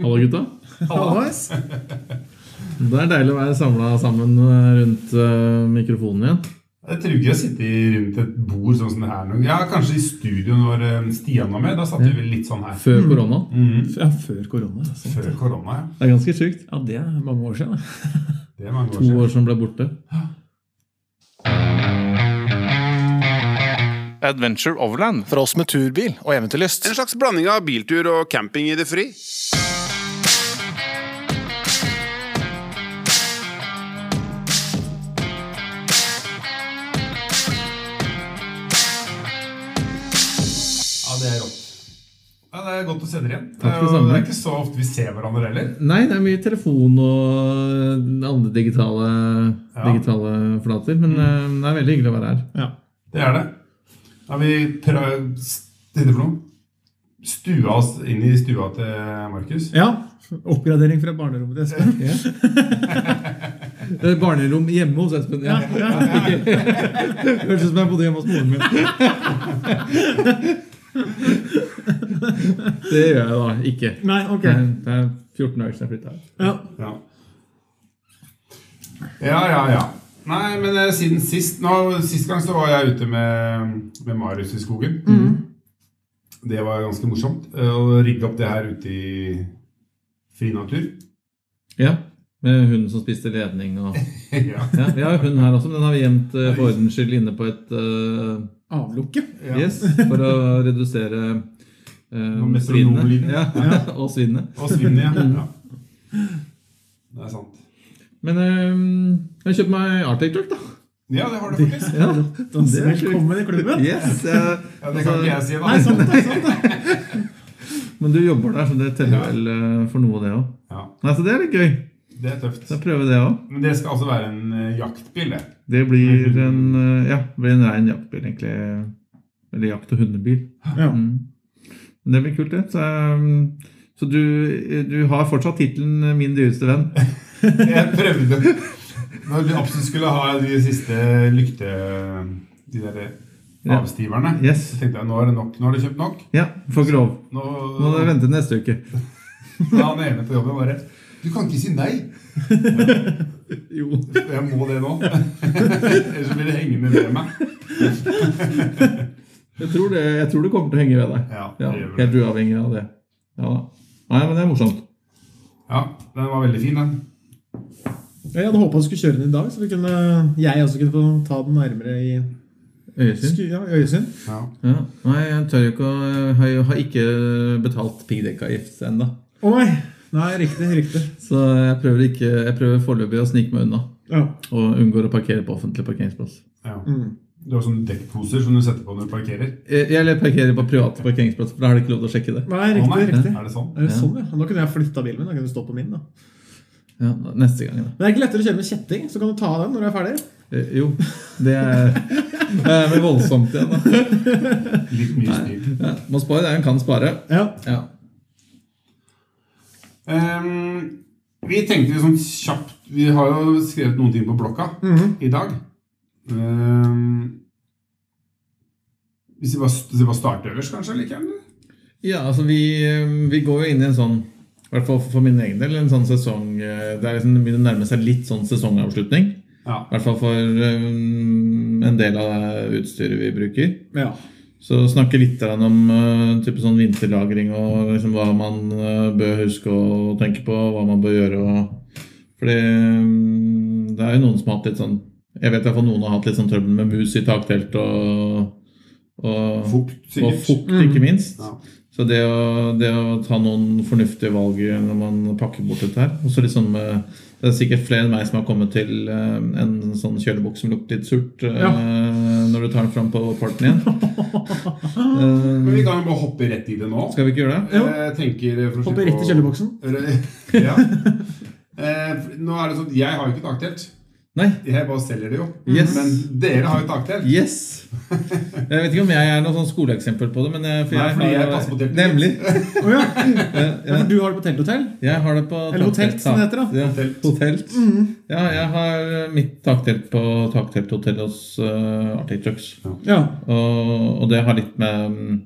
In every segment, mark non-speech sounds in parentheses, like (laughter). Hallo, gutta. Hallois. Det er deilig å være samla sammen eh, rundt eh, mikrofonen igjen. Jeg tror ikke jeg sitter rundt et bord sånn som det her nå. Ja, kanskje i studio når eh, Stian var med. Da satt vi Mm. vel litt sånn her. Før korona. Mhm. Mm. Ja, før korona. ja, sant. Før korona, ja. Det er ganske sjukt. Ja, det er mange år siden. da. Det er mange år To siden. år som ble borte. Adventure Overland. For oss med turbil og eventyrlyst. Eh, En slags blanding av biltur og camping i det fri. Ja, det er rått. Ja, det er godt å se dere igjen. Det Takk er, det jo, samme. det er ikke så ofte vi ser hverandre heller. Nei, det er mye telefon og eh, andre digitale, Ja. digitale flater. Men eh, det er veldig hyggelig å være her. Mm. Ja. Det er det. Da har vi prøvd Dette for noe? Stua oss inn i stua til Markus. ja. Oppgradering fra barnerommet til Espen. Det er Eh, barnerom hjemme hos Espen. Ja. (laughs) Høres ut som jeg bodde hjemme hos moren min. Det gjør jeg da ikke. Nei, ok. Det er- Det er 14 dager siden jeg flytta her. Ja. Ja. ja, ja, ja. Nei, men eh, siden sist nå, Sist gang så var jeg ute med, med Marius i skogen. Mm. Det var ganske morsomt eh, å rigge opp det her ute i fri natur. Ja, Med hunden som spiste ledning og (laughs) ja. Ja, Vi har hund her også, men den har vi gjemt eh, for ordens skyld inne på et eh, Avlukke. Ja. Yes, for å redusere uh, metronomliden. Ja, (laughs) og svinnet. (laughs) Og svinnet, (laughs) ja. Mm. ja. Det er sant. Men eh, jeg kjøpte meg Arctic Truck, da. Ja, det har du faktisk. (laughs) Ja. Det Da er sjukt. Velkommen i klubben. Yes, eh, Ja, det kan ikke jeg si, da. Nei, sant det. sant det. men du jobber der, så det teller vel eh, for noe, det òg. (laughs) Ja, Nei, Så det er litt gøy. det er tøft. Så jeg prøver det òg. Men det skal altså være en eh, jaktbil, det. Det blir en, eh, ja, det blir en rein jaktbil, egentlig. Eller jakt- og hundebil. Ja. Mm. Men det blir kult, det. Så, eh, så du, du har fortsatt tittelen eh, 'Min dyreste venn'. Jeg prøvde Når du absolutt skulle ha de siste lykte De der eh, Ja. avstiverne Yes. Så tenkte jeg, nå er det nok, nå har du kjøpt nok Ja, får ikke lov. Nå, Nå må dere vente til neste uke. Da (laughs) han ene på jobben bare Du kan ikke si (laughs) nei Jo. Jeg må det nå (laughs) Ellers blir det hengende ved meg Jeg tror det, jeg tror det kommer til å henge ved deg. Ja, det Ja, gjør vel det. helt uavhengig av det. Ja da. Nei, men det er morsomt. ja, den var veldig fin den Jeg hadde håpa du skulle kjøre den i dag, så vi kunne, jeg også kunne få ta den nærmere i Øyesyn. sku- ja, i Øyesund. ja. Ja. Nei, jeg tør ikke å jeg har jo- har ikke betalt piggdekkavgift ennå. Å nei! Nei, riktig. Riktig. Så jeg prøver, ikke, jeg prøver foreløpig å snike meg unna. Ja. Og unngår å parkere på offentlig parkeringsplass. Ja. Mm. Du har sånne dekkposer som du setter på når du parkerer Eh, Eller parkere på privat parkeringsplass, for da har de ikke lov til å sjekke det. Nei, Å, riktig. nei, riktig. Er det sånn? Er det sånn, ja? Nå kunne jeg flytta bilen min. Da kunne du stå på min. da Ja, neste gang, da. Men Det er ikke lettere å kjøre med kjetting, så kan du ta av den når du er ferdig. Eh, Jo, det er (laughs) Det blir voldsomt igjen, da. Litt mye styr Ja, må spare det en kan spare. Ja. Ja. Ehm, vi tenkte liksom kjapt Vi har jo skrevet noen ting på blokka Mhm. i dag. Ehm, hvis vi bare, hvis vi bare starter øverst, kanskje? Eller ikke? eller? Ja, altså vi, vi går jo inn i en sånn i hvert fall for min egen del, en sånn sesong eh, Det er liksom det begynner å nærme seg litt sånn sesongavslutning. Ja. I hvert fall for eh, en del av det utstyret vi bruker. ja. Så snakke litt grann om eh, type sånn vinterlagring og liksom hva man eh, bør huske å tenke på, hva man bør gjøre. Og, fordi mm, det er jo noen som har hatt litt sånn Jeg vet i hvert fall noen har hatt litt sånn trøbbel med mus i taktelt og, og Fukt, og sikkert. fukt, Mm. ikke minst. Ja. Så det å, det å ta noen fornuftige valg når man pakker bort dette her og så liksom, eh, Det er sikkert flere enn meg som har kommet til eh, en sånn kjølebukk som lukter litt surt eh, Ja. når du tar den fram på parten igjen. Eh, Men vi kan jo bare hoppe rett i det nå. Eh, skal vi ikke gjøre det? Jo. Jeg tenker for å Hoppe slippe å- rett i kjøleboksen. (laughs) Eller- Ja. Ehm, for nå er det sånn Jeg har jo ikke taktelt. Nei. Jeg bare selger det jo. Yes. Men dere har jo taktelt. Yes! Jeg vet ikke om jeg er noe sånn skoleeksempel på det, men jeg, for Nei, jeg, fordi jeg har- passer på teltet. Nemlig. Å, ja. ja, ja. for du har det på telthotell? Jeg har det på Eller hotell, som det heter, da. Ja, Hotelt. hotelt. Ja, jeg har mitt taktelt på taktelthotell hos eh, Arctic eh, Trucks. Ja. Og, og det har litt med mm,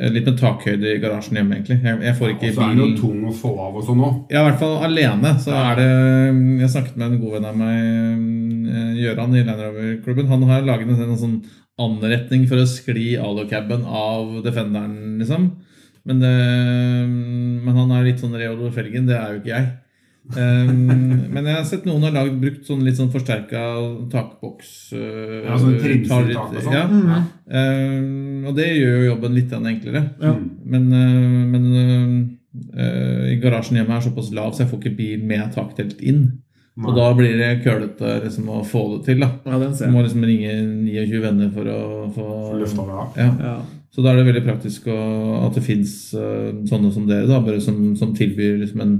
en liten takhøyde i garasjen hjemme, egentlig. Jeg, jeg får Og så ikke er den jo tung å få av og sånn òg. Ja, i hvert fall alene. Så er det Jeg snakket med en god venn av meg, eh, Gøran i Land Rover-klubben. Han har laget en sånn anretning for å skli alucaben av Defenderen, liksom. Men, det, men han er litt sånn Reodor Felgen. Det er jo ikke jeg. Ehm, men jeg har sett noen har lagd, brukt sånn litt sånn forsterka takboks. eh, Ja, sånn trimset tar litt- tak og sånn. Ja. Mm. Ehm, og det gjør jo jobben litt grann enklere. Ja. Mm. Men, øh, men øh, øh, i garasjen hjemme er såpass lav, så jeg får ikke bil med taktelt inn. Og da blir det kølete liksom, å få det til. da ja, den Du ser må jeg. liksom ringe 29 venner for å få Løfta det av. ja. Ja. Så da er det veldig praktisk å, at det fins sånne som dere, da, bare som, som tilbyr liksom en,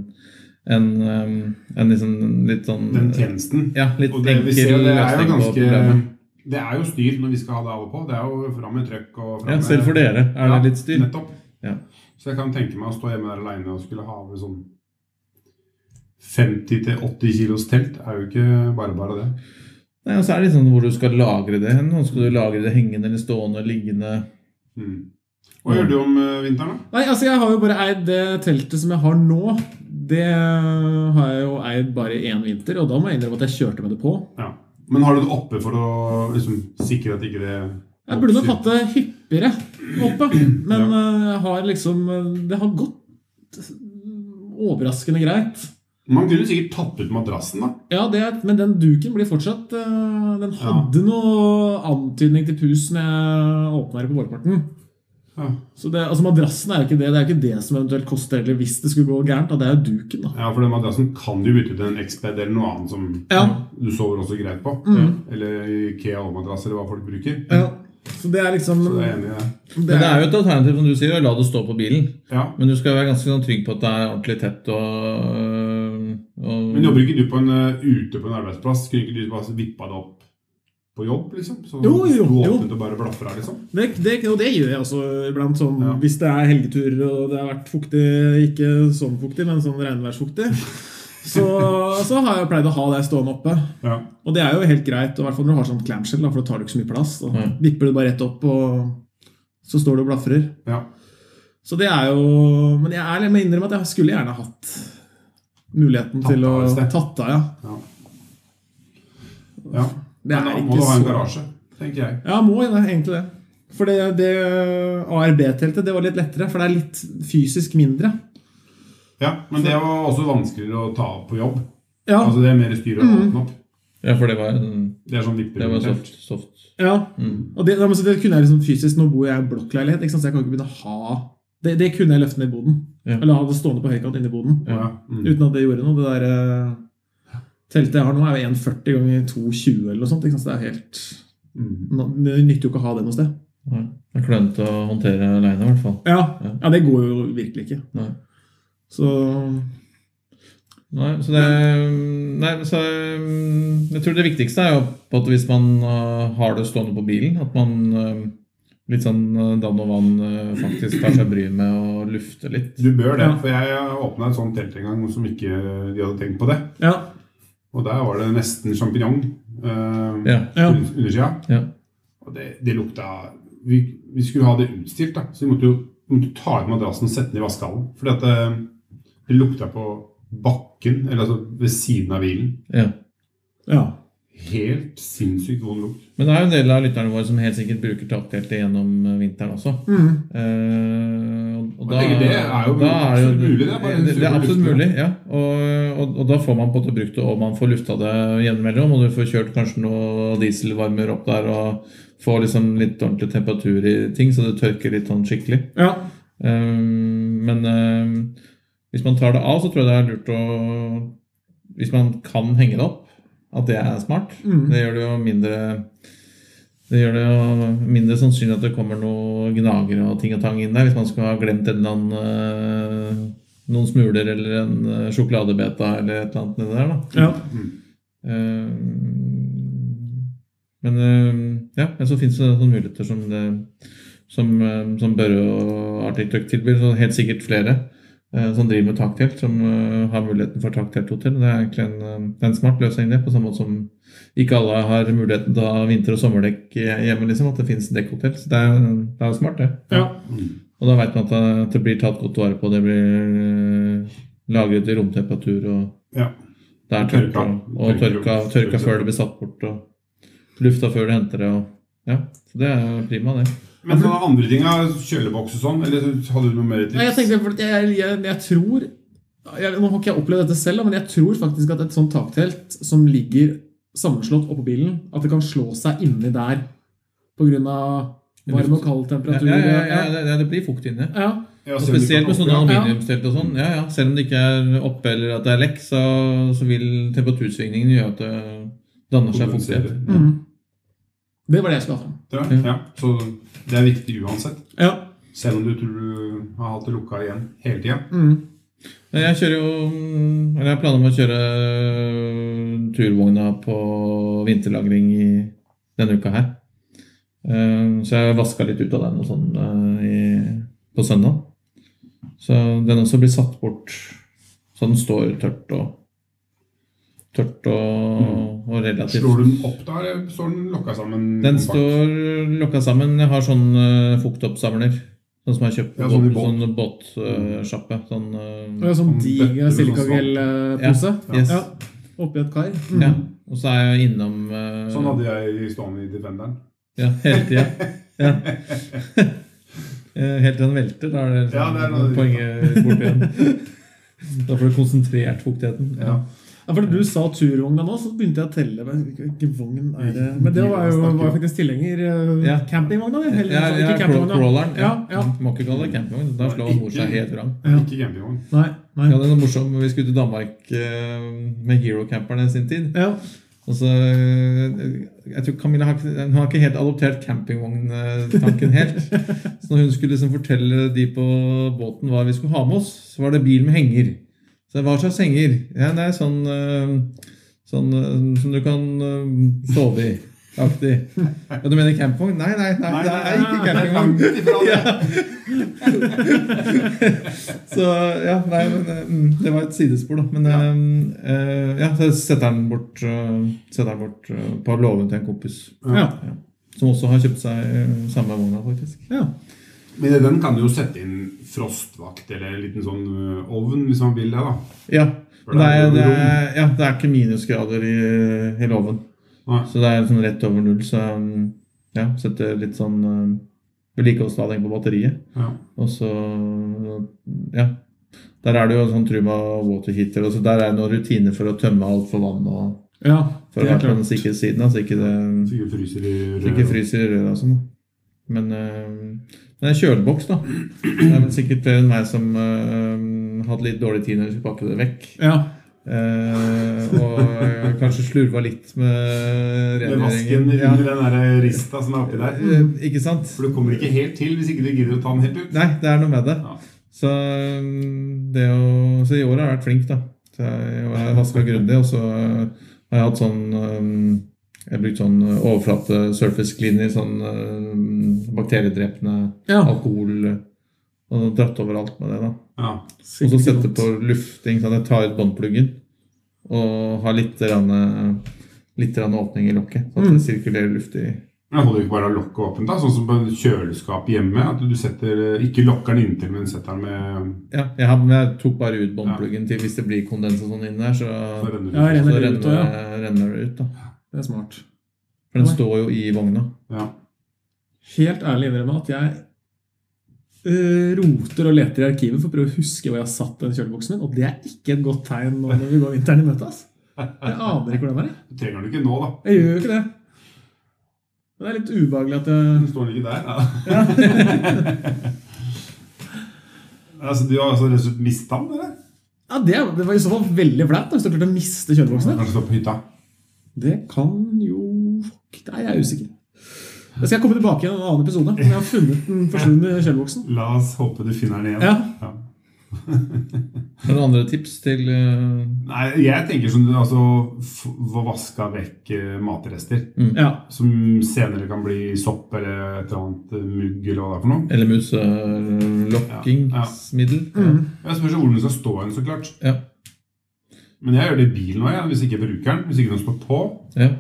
en, øh, en liksom, litt sånn Den tjenesten. Ja, litt Og det enkel vi ser, det er jo løsning på ganske problemet. Det er jo styr når vi skal ha det av og på. Det er jo fram med trøkk og fram Ja, med selv for dere er det Ja, litt styr. Nettopp. Ja. Så jeg kan tenke meg å stå hjemme der aleine og skulle ha med sånn 50-80 kilos telt. Er jo ikke bare bare det. Nei, og så er det litt sånn hvor du skal lagre det hen. Nå Skal du lagre det hengende eller stående, liggende? Mm. Hva gjør du om eh, vinteren, da? Nei, altså jeg har jo bare eid det teltet som jeg har nå. Det har jeg jo eid bare én vinter, og da må jeg innrømme at jeg kjørte med det på. Ja. Men har du det oppe for å liksom, sikre at ikke det Jeg burde nok hatt det hyppigere oppe, men eh, jeg har liksom eh, Det har gått overraskende greit. Man kunne sikkert tatt ut madrassen, da. Ja, det er, Men den duken blir fortsatt eh, Den hadde noe antydning til pus når jeg åpna her på vårparten. Ja. Så det, altså Madrassen er jo ikke det Det er jo ikke det som eventuelt koster heller hvis det skulle gå gærent. Da. Det er jo duken, da. Ja, for den madrassen kan du bytte ut en Exped eller noe annet som Ja. du sover også greit på. Mhm. Eller Ikea allmadrass, eller hva folk bruker. Ja. Så det er liksom Så jeg er enig i det. det Men det er, er jo et alternativ som du sier, å la det stå på bilen. Ja. Men du skal være ganske sånn trygg på at det er ordentlig tett og, øh, og Men jobber ikke du på en, eh, ute på en arbeidsplass? Skulle ikke du bare vippa det opp på jobb, liksom? Så Jo, jo, sto jo. åpent og bare blafra, liksom? det, det, og det gjør jeg også iblant. Sånn, Ja. Hvis det er helgeturer og det har vært fuktig, ikke sånn fuktig, men sånn regnværsfuktig, så, så har jeg pleid å ha det stående oppe. Ja. Og det er jo helt greit, og i hvert fall når du har sånn clamshell, da, for da tar du ikke så mye plass. Da Mm. vipper du bare rett opp, og så står du og blafrer. ja. Så det er jo Men jeg er, jeg må innrømme at jeg skulle gjerne hatt muligheten Tatt til å av et sted. Tatt av, ja. ja. ja. Det Men er da ikke må du ha en så- garasje, tenker jeg. Ja, må jo det, egentlig det. For det, det ARB-teltet det var litt lettere, for det er litt fysisk mindre. Ja, Men det var også vanskeligere å ta opp på jobb. Ja, Mm. Altså Det er mer styr å åpne opp. Ja, for det var, en- Det er sånn det var vipper. soft. soft. ja. Mm. Og det, ja, men så det kunne jeg liksom fysisk Nå bor jeg i blokkleilighet, ikke sant? så jeg kan ikke begynne å ha Det, det kunne jeg løfte ned i boden. Ja. Eller ha det stående på høykant inni boden. Ja. Mm. Uten at det gjorde noe. Det der eh, teltet jeg har nå, er jo 1,40 ganger 2,20 eller noe sånt. Ikke sant? Så det er helt Mm. nå- Det nytter jo ikke å ha det noe sted. Nei, Det er klønete å håndtere aleine, i hvert fall. Ja, Ja. ja det går jo virkelig ikke. Nei. Så Nei, så det, nei, men så eh, Jeg tror det viktigste er jo på at hvis man eh, har det stående på bilen, at man eh, litt sånn eh, dann og vann eh, faktisk tar seg bryet med å lufte litt. Du bør det, Ja. for jeg åpna et sånt telt en gang som ikke de hadde tenkt på det. ja. Og der var det nesten sjampinjong eh, Ja. Ja. under- undersida. Ja. Og det, det lukta vi, vi skulle ha det utstilt, da. så vi måtte jo vi måtte ta ut madrassen og sette den i vaskehallen. Fordi at det, det lukta på bakken, eller altså ved siden av bilen. ja. ja. Helt sinnssykt vond lukt. Men det er jo en del av lytterne våre som helt sikkert bruker takteltet gjennom eh, vinteren også. Mhm. Eh, og- og Jeg tenker det er jo absolutt mulig, det er bare en det, det er super absolutt lufte. mulig, ja. Og, og, og da får man på en måte brukt det, og man får lufta det gjenimellom. Og du får kjørt kanskje noe dieselvarmer opp der, og får liksom litt ordentlig temperatur i ting, så det tørker litt sånn skikkelig. ja. Ehm, men ehm, hvis man tar det av, så tror jeg det er lurt å Hvis man kan henge det opp, at det er smart. Mm. Det gjør det jo mindre det gjør det jo mindre sannsynlig at det kommer noen gnagere og ting og tang inn der, hvis man skal ha glemt en eller annen eh, noen smuler eller en eh, sjokoladebeta eller et eller annet nedi der. da ja. Ehm, men ehm, ja, men så finnes det sånne muligheter som, det, som, ehm, som Børre og Arctic tilbyr. Så helt sikkert flere eh, som driver med taktelt, som eh, har muligheten for taktelthotell. Det er egentlig en, eh, det er en smart løsning, det. På samme måte som ikke alle har muligheten eh, til å ha vinter- og sommerdekk hjemme. liksom, At det finnes dekkhotell. Så det er, det er jo smart, det. Mm. Ja. Og da veit man at det, det blir tatt godt vare på, det blir eh, lagret i romtemperatur, og Ja. det er Tørka. tørka. Og tørka, Tørker- tørka før det blir satt bort, og lufta før du henter det. Og, ja, så det er prima, det. Men sånne andre ting, ja, kjøleboks og sånn, eller hadde du noe mer Nei, jeg tips? tenkte, for jeg, jeg, jeg tror jeg, Nå har ikke jeg opplevd dette selv, da, men jeg tror faktisk at et sånt taktelt som ligger sammenslått oppå bilen, at det kan slå seg inni der pga. varm og kald Ja, temperatur. ja, ja, ja, det- det, det blir fuktig inni. Ja. Ja, Og selv om du spesielt kan med sånne opp- ja. ja. aluminiumstelt og sånn. Ja, ja. Selv om det ikke er oppe eller at det er lekk, så, så vil temperatursvingningene gjøre at det danner seg fuktighet. Kompenserer. Mhm. Det var det jeg skulle ha fram. Ja, ja. Så det er viktig uansett. Ja. Selv om du tror du har hatt det lukka igjen hele tida. Mhm. Men Jeg kjører jo mm, Eller jeg planer om å kjøre øh, turvogna på vinterlagring i denne uka her. Eh, Så jeg vaska litt ut av den og sånn eh, i, på søndag. Så den også blir satt bort så den står tørt og Tørt og, og relativt Mm. Slår du den opp da, eller står den lokka sammen? Den kompakt? står lokka sammen. Jeg har sånn uh, fuktoppsamler. Sånn som jeg har kjøpt på Ja, sånn i båt. sånn båtsjappe. Sånn, Det eh, var en sånn Sånn diger bøtter, silikagel-pose. Ja, yes. Ja. Oppi et kar. Mhm. ja. Og så er jeg innom eh, Mm. Sånn hadde jeg stående i Defenderen. ja, hele tida. Ja. (laughs) Eh, Helt til den velter. Da er det, liksom Ja, det er noe- poenget bort igjen. Da får du konsentrert fuktigheten. Ja. Ja, for du sa turvogna nå, så begynte jeg å telle. Men hvilken vogn er det? Men det var jo var faktisk tilhenger. eh, Ja. Campingvogna, det. Eller, Ja, sånn, ja, ikke crawl- campingvogna. crawleren. Ja. Ja, ja. Må ikke kalle det campingvogn. Da slår mor seg helt vrang. Ja. Ikke campingvogn. Nei, Ja, nei. det er morsomt. Vi skulle til Danmark eh, med herocamperne i sin tid. Ja. Og så, øh, jeg tror Camilla har, ikke- hun har ikke helt adoptert campingvogntanken helt. (laughs) Så når hun skulle liksom fortelle de på båten hva vi skulle ha med oss, så var det bil med henger. Så hva slags henger? Ja, nei, sånn, øh, sånn øh, som du kan øh, sove i. Aktig. Ja, du mener campingvogn? Nei, nei, nei, det er ikke (laughs) campingvogn. Langt ifra det. Så ja, nei, men eh, mm, det var et sidespor, da. Men eh, eh, ja, så setter han bort, eh, setter han bort eh, på låven til en kompis. Ja. Som også har kjøpt seg eh, samme vogna, faktisk. ja. Men i den kan du jo sette inn frostvakt eller en liten sånn ø, ovn hvis man vil det. da. Ja. For Det da er, er det det, jo er, ja, det er ikke minusgrader i, i låven. Nei. Så det er liksom rett over null. Så mm, ja, setter litt sånn eh, vedlikeholdslading på batteriet. Ja. Og så ja. Der er det jo sånn Truma water heater. Og så der er det noen rutiner for å tømme alt for vann. og ja. For å det er være på den klart. sikre siden, altså ikke det Sikkert fryser i så ikke fryser i røra og sånn. da. Men eh, det er en kjøleboks, da. Det er vel sikkert flere enn meg som eh, hadde litt dårlig tid når vi skulle pakke det vekk. Ja. Eh, og kanskje slurva litt med Med vasken rengjøringen. Ja. under den der øh, rista som er oppi der. Eh, Ikke sant? For du kommer ikke helt til hvis ikke du gidder å ta den helt ut. Nei, det er noe med det. Ja. Så, mm, det å, så i år har jeg vært flink, da. Så jeg har vaska grundig, og så eh, har jeg hatt sånn mm, Jeg har brukt sånn overflate surface cleaner, sånn mm, bakteriedrepende Ja. alkohol Og dratt over alt med det, da. Ja. Og så sette på lufting, sånn at jeg tar ut båndpluggen og har litt, grann, litt grann åpning i lokket, så at det sirkulerer luft i Men holder du ikke bare å lokke åpent, da? Sånn som på et kjøleskap hjemme. At du setter, ø, ikke lokker den inntil, men setter den med Ja, jeg, har- men jeg tok bare ut båndpluggen til hvis det blir kondens og sånn inni der, så så renner Ja, det ut. Så renner det renner, ut, ja. renner det ut, da. Det er smart. For den står jo i vogna. Ja. Helt ærlig innrømme at jeg eh, roter og leter i arkivet for å prøve å huske hvor jeg har satt den kjøleboksen min, og det er ikke et godt tegn nå når vi går vinteren i møte. ass. Jeg aner ikke hvor den er. jeg. Du trenger den ikke nå, da. Jeg gjør jo ikke det. Men det er litt ubehagelig at jeg Den står den ikke der. Ja. (laughs) altså, du har altså rett og slett mistet den, eller? Ja, det, det var i så fall veldig flaut da, hvis du klarte å miste kjøleboksen din. Kanskje står på hytta. Det kan jo Fuck, Nei, jeg er usikker. Jeg skal komme tilbake i en annen episode. Men jeg har funnet den forsvunne kjøleboksen. La oss håpe du finner den igjen. Ja. Har du andre tips til eh, Nei, jeg tenker som du altså f- få vaska vekk eh, matrester. Ja. Som senere kan bli sopp eller et eller annet eh, mugg eller hva det er for noe. Eller eh, muselokkingsmiddel? Mm. Jeg spørs jo hvor den skal stå hen, så klart. Ja. Men jeg gjør det i bilen òg, hvis ikke jeg bruker den. Hvis ikke den står på, Ja.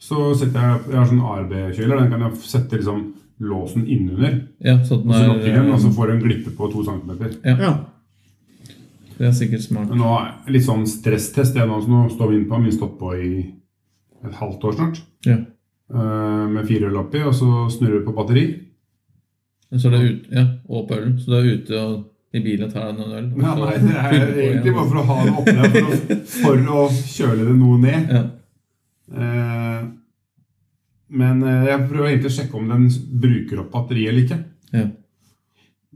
så setter jeg Jeg har sånn ARB-kjøler. Den kan jeg f- sette liksom låsen innunder. Ja, så at Og så den lukker du den, og er så får du en glippe på to centimeter. Ja. eh, Det er sikkert smart. Men nå er det litt sånn stresstest det nå, så nå står vi inn på den. Vi har stått på i et halvt år snart. Ja. eh, Med firehjul oppi, og så snurrer vi på (laughs) batteri. Men så er det ut, ja, og på ølen. Så du er ute og i bilen og tar deg noen øl. og Ja, så nei, det er fyller du på egentlig igjen. bare for å ha det oppe der, for å, for å kjøle det noe ned. Ja. Eh, Men eh, jeg prøver egentlig å sjekke om den bruker opp batteriet eller ikke. Ja.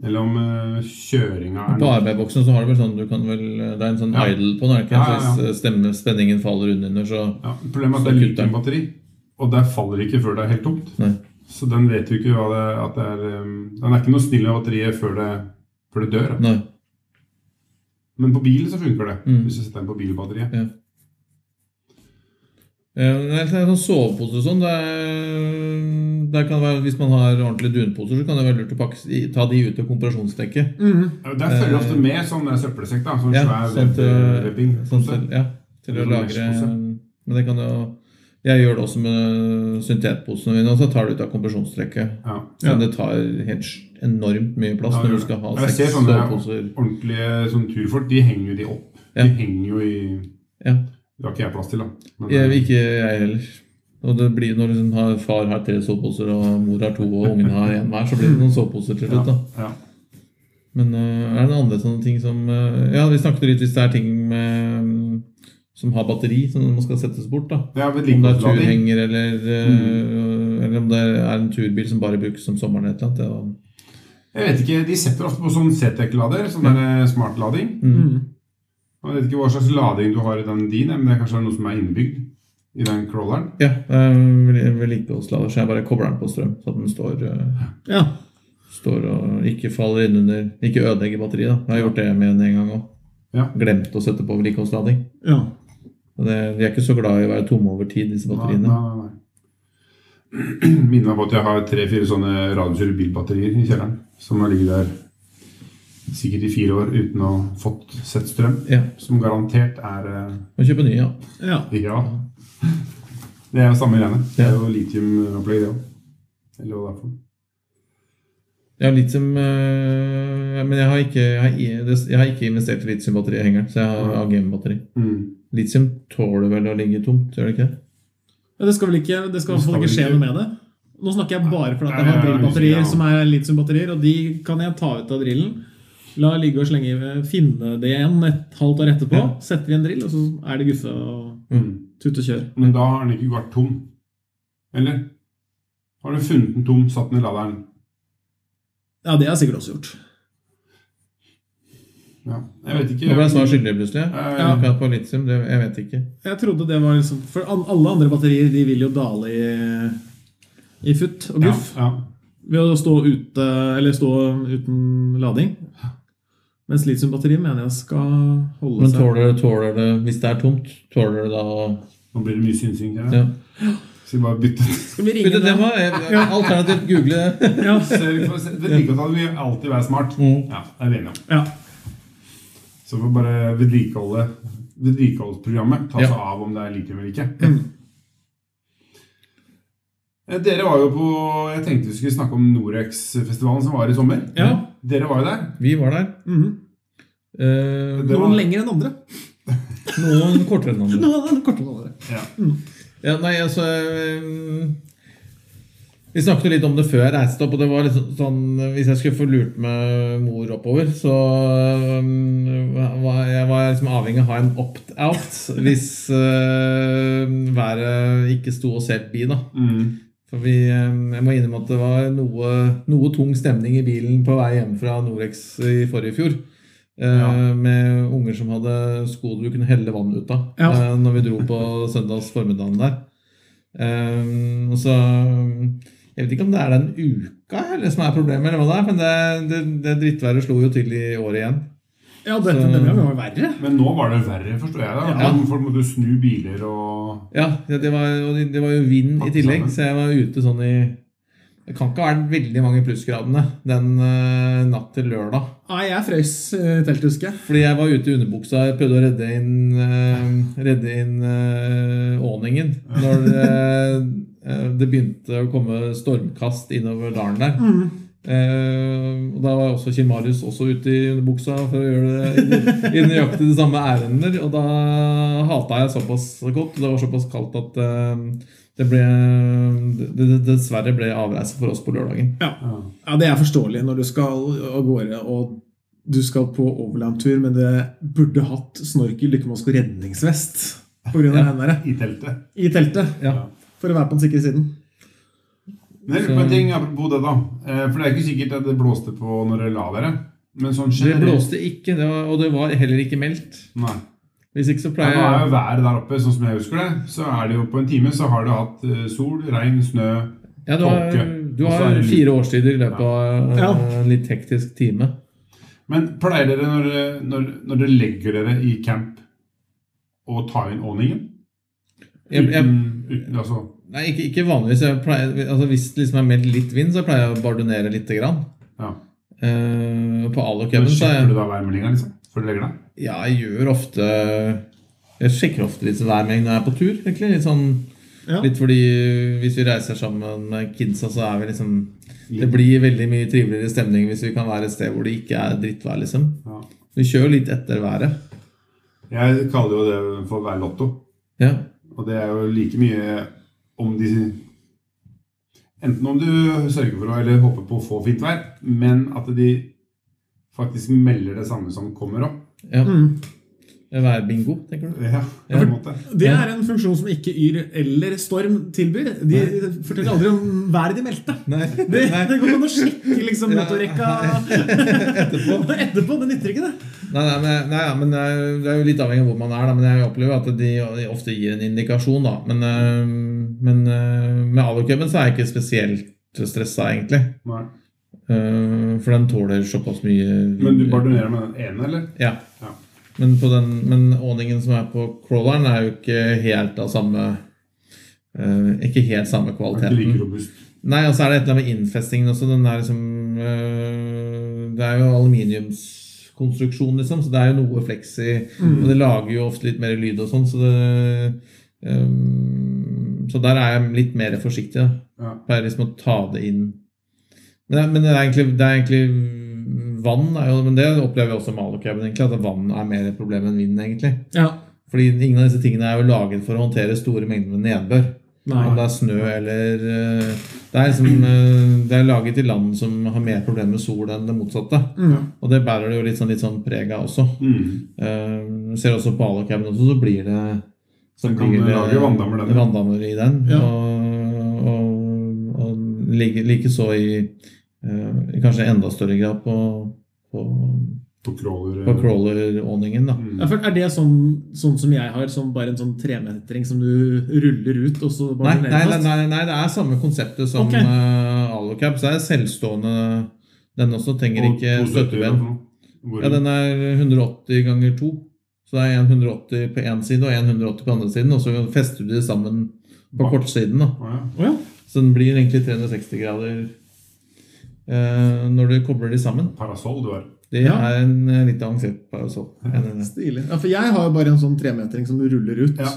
Eller om eh, kjøringa er På arbeidboksen så har du vel sånn du kan vel, Det er en sånn Ja. idle på den. er det Ikke? Ja, ja, ja. Så Stemme, spenningen faller under, så Ja, Problemet er at Så det er kutter lite den. batteri, og der faller det ikke før det er helt tomt. Nei. Så den vet jo ikke hva det, at det er um, Den er ikke noe snill med batteriet før det, før det dør. da. Nei. Men på bilen så funker det. Mm. Hvis du setter den på bilbatteriet. Eh, men Det er en sånn sovepose og sånn. Det er, der kan det være, hvis man har ordentlige dunposer, så kan det være lurt å pakke, i- ta de ut til kompresjonsdekket. Mhm. Ja, Der følger det ofte med sånn der søppelsekk. da, Sånn Eh, Ja, svær sånn til, web-webbing. sånn til, ja, til å Eller sånn lagre meshpose. Men det kan jo Jeg gjør det også med syntetposene mine, og så tar det ut av kompresjonstrekket. Ja. Men det tar helt sj- enormt mye plass Ja, det når gjør du skal ha det. Jeg seks ser sånne- soveposer. Ordentlige sånn turfolk, de henger jo de opp. Ja. De henger jo i Ja. Det har ikke jeg plass til, da. Men, eh, Jeg, ikke jeg heller. Og det blir når liksom har- far har tre soveposer, og mor har to, og ungen har én hver, så blir det noen soveposer til slutt. da ja. Men øh, er det noen andre sånne ting som øh, Ja, vi snakket litt hvis det er ting med, mm, som har batteri, som man skal settes bort. da Det er Om det er vedlikeholdslading. turhenger, eller, øh, Mm. eller om det er en turbil som bare brukes om sommeren. Et eller annet. Det var, Jeg vet ikke, De setter ofte på sånn CTEC-lader, sånn der smartlading. Mhm. Og Jeg vet ikke hva slags lading du har i den din, men det er kanskje noe som er innebygd i den crawleren. ja, øh, ved- vedlikeholdslader, så jeg bare kobler den på strøm. Så at den står, øh, Ja. står og ikke faller innunder Ikke ødelegger batteriet. da Jeg har gjort det med den en gang òg. Ja. Glemt å sette på vedlikeholdslading. ja. Og det- Vi er ikke så glad i å være tomme over tid, disse Nei, batteriene. nei, nei, nei. (clears throat) Minner meg på at jeg har tre-fire sånne radiokjørte bilbatterier i kjelleren. Som har ligget der sikkert i fire år uten å ha fått sett strøm. Ja, Som garantert er eh, Må kjøpe nye, ja. ja. Ja. (laughs) Det er jo samme greiene. Det er Ja. jo litiumopplegg, det òg. Eller hva det er for noe. Ja, litium øh, Men jeg har ikke, jeg har, i- det- jeg har ikke investert i litiumbatteri i hengeren, så jeg har AGM-batteri. Mm. Litium tåler vel å ligge tomt, gjør det ikke? det? Ja, Det skal vel ikke, det skal i hvert fall Det ikke skal skje ikke- noe med det. Nå snakker jeg bare for at Nei, jeg har jeg er usikker, drillbatterier ja. som er litiumbatterier, og de kan jeg ta ut av drillen. La ligge og slenge, finne det igjen et halvt år etterpå. Ja. Setter i en drill, og så er det guffe og Mm. tut og kjør. Men da har den ikke vært tom. Eller? Har du funnet den tom, satt den i laderen? Ja, det har jeg sikkert også gjort. Ja. Jeg vet ikke. Nå ble jeg svar skyldig plutselig. Ja. Akkurat på litium, det, jeg vet ikke. Jeg trodde det var liksom For an- alle andre batterier de vil jo dale i, i futt og Ja, guff ja. ved å stå ute Eller stå uten lading. Mens litiumbatteriet mener jeg skal holde Men seg tåler det, tåler det Hvis det er tomt, tåler det da å Nå blir det mye synsing. her. ja. Så vi bare bytter. Skal vi Bytte ringe dem? tema? eh, Alternativt google det. (laughs) Ja. Sørg for- Det Vedlikeholdet vil alltid være smart. Mm. Ja, det er vi enige om. ja. Så vi får bare vedlikeholde vedlikeholdsprogrammet. Ta seg av om det er litium eller ikke. Mm. Eh, Dere var jo på Jeg tenkte vi skulle snakke om Norex-festivalen som var i sommer. Ja. Dere var jo der. (laughs) Vi var der. Mhm. Eh, Det var- Noen lenger enn andre. noen kortere enn andre. Noen kortere enn andre. Ja. Ja, nei, altså eh, Vi snakket jo litt om det før jeg reiste opp, og det var litt så- sånn Hvis jeg skulle få lurt med mor oppover, så eh, var jeg var liksom avhengig av å ha en opt-out hvis eh, været ikke sto oss helt bi, da. Mm. For vi, eh, jeg må innrømme at det var noe, noe tung stemning i bilen på vei hjem fra Norex i forrige fjor. Eh, Ja. Med unger som hadde sko du kunne helle vann ut av Ja. eh, når vi dro på søndags formiddagen der. Eh, og så Jeg vet ikke om det er den uka eller som er problemet, eller hva det er, men det, det, det drittværet slo jo til i år igjen. Ja, dette Så- denne gangen var verre. Men nå var det verre, forstår jeg. da Ja. Folk måtte snu biler og Ja, det det var, og det- det var jo vind i Pakke tillegg, sammen. så jeg var ute sånn i Det kan ikke ha vært veldig mange plussgradene den eh, natt til lørdag. Nei, jeg frøs eh, i teltet, husker jeg. Fordi jeg var ute i underbuksa Jeg prøvde å redde inn, eh, redde inn eh, åningen. Når eh, eh, det begynte å komme stormkast innover dalen der. Eh, og da var også Kjell Marius også ute i buksa for å gjøre det i i nøyaktig de samme ærender. Og da hata jeg såpass godt, og det var såpass kaldt at eh, det ble det- det, Dessverre ble avreise for oss på lørdagen. Ja. ja, det er forståelig når du skal av gårde og du skal på overlandtur, men det burde hatt snorkel, dykkermaske og redningsvest på grunn av Ja. den der, I teltet. i teltet. Ja. For å være på den sikre siden. Men jeg lurer på en ting apropos det, da. Eh, For det er ikke sikkert at det blåste på når dere la dere. Men sånn Det generelt blåste ikke, det var, og det var heller ikke meldt. Nei. Hvis ikke så Ja, pleier nå er jeg jo været der oppe, sånn som jeg husker det, så er det jo på en time så har det hatt eh, sol, regn, snø ja, du, har, tåke. du Og så er har det lyd. fire årstider i løpet av eh, Ja. en litt hektisk time. Men pleier dere når, dere- når, når dere legger dere i camp, å ta inn åningen? Jeg, jeg, Uten, uten, altså, Nei, ikke, ikke vanligvis. Jeg pleier, altså hvis det liksom er meldt litt vind, så pleier jeg å bardunere lite grann. ja. Eh, på Men alocaben så er Sjekker du jeg, da værmeldinga liksom, før du legger deg? ja, jeg gjør ofte Jeg sjekker ofte litt værmelding når jeg er på tur. egentlig Litt sånn Ja. Litt fordi eh, hvis vi reiser sammen med kidsa, så er vi liksom Det Litt. blir veldig mye triveligere stemning hvis vi kan være et sted hvor det ikke er drittvær, liksom. Ja. Vi kjører litt etter været. Jeg kaller jo det for værlotto. Ja. Og det er jo like mye om de Enten om du sørger for å eller håper på å få fint vær, men at de faktisk melder det samme som kommer opp. ja. Mm. Værbingo, tenker du? Ja, på en måte. Det er en funksjon som ikke Yr eller Storm tilbyr. De forteller aldri om været de meldte. (laughs) Nei. Det, det går an å sjekke liksom, Ja. motorrekka Etterpå. (laughs) etterpå. Det nytter ikke, det. Nei, nei, men, nei, ja, men det er jo- det er jo litt avhengig av hvor man er, da. Men jeg opplever at de de ofte gir en indikasjon, da. Men, øh, men øh, med alucuben så er jeg ikke spesielt stressa, egentlig. Nei. Øh, For den tåler såpass mye vind. Men du bardonerer med den ene, eller? Ja. Ja. Men, på den, men åningen som er på crawleren, er jo ikke helt av samme øh, Ikke helt samme Den er ikke like kvaliteten. robust. Nei, og så er det et eller annet med innfestingen også. Den er liksom øh, Det er jo aluminiums konstruksjon, liksom, så det er jo noe flex i Og det lager jo ofte litt mer lyd og sånn, så det ehm, Så der er jeg litt mer forsiktig. Da. Ja. Pleier liksom å ta det inn. Men, det- men det, er egentlig, det er egentlig Vann er jo Men det opplever jeg også med alucaben, egentlig, at vann er mer et problem enn vind, egentlig. Ja. Fordi ingen av disse tingene er jo laget for å håndtere store mengder med nedbør. Nei. Om det er snø eller eh, Det er liksom eh, Det er laget i land som har mer problemer med sol enn det motsatte. Mm. Og det bærer det jo litt sånn, litt sånn preg av også. Mm. Eh, ser også på Alucaben også, så blir det så eh, Den kan lage vanndammer, den. vanndammer i den. Ja. Og, og, og like, likeså i eh, i Kanskje enda større grad på, på, På crawler. eh, mm. på crawleråningen, da. Ja, for er det sånn, sånn som jeg har, som bare en sånn tremetering som du ruller ut? og så Nei, bare nei, ned nei, fast? nei, nei, det er samme konseptet som Ok. okay. Alucab. Så er det selvstående Den også trenger Og ikke 270 støtteben. eller noe. Hvor- Ja, den er 180 ganger 2. Så det er en 180 på én side og en 180 på andre siden. Og så fester du de sammen på kortsiden. da. Å, ja. Å ja. Så den blir egentlig 360 grader eh, når du kobler de sammen. Parasoll du har. Det Ja. er en eh, litt avansert parasol. eh, Stilig. Ja, for jeg har jo bare en sånn tremetering som du ruller ut. Ja.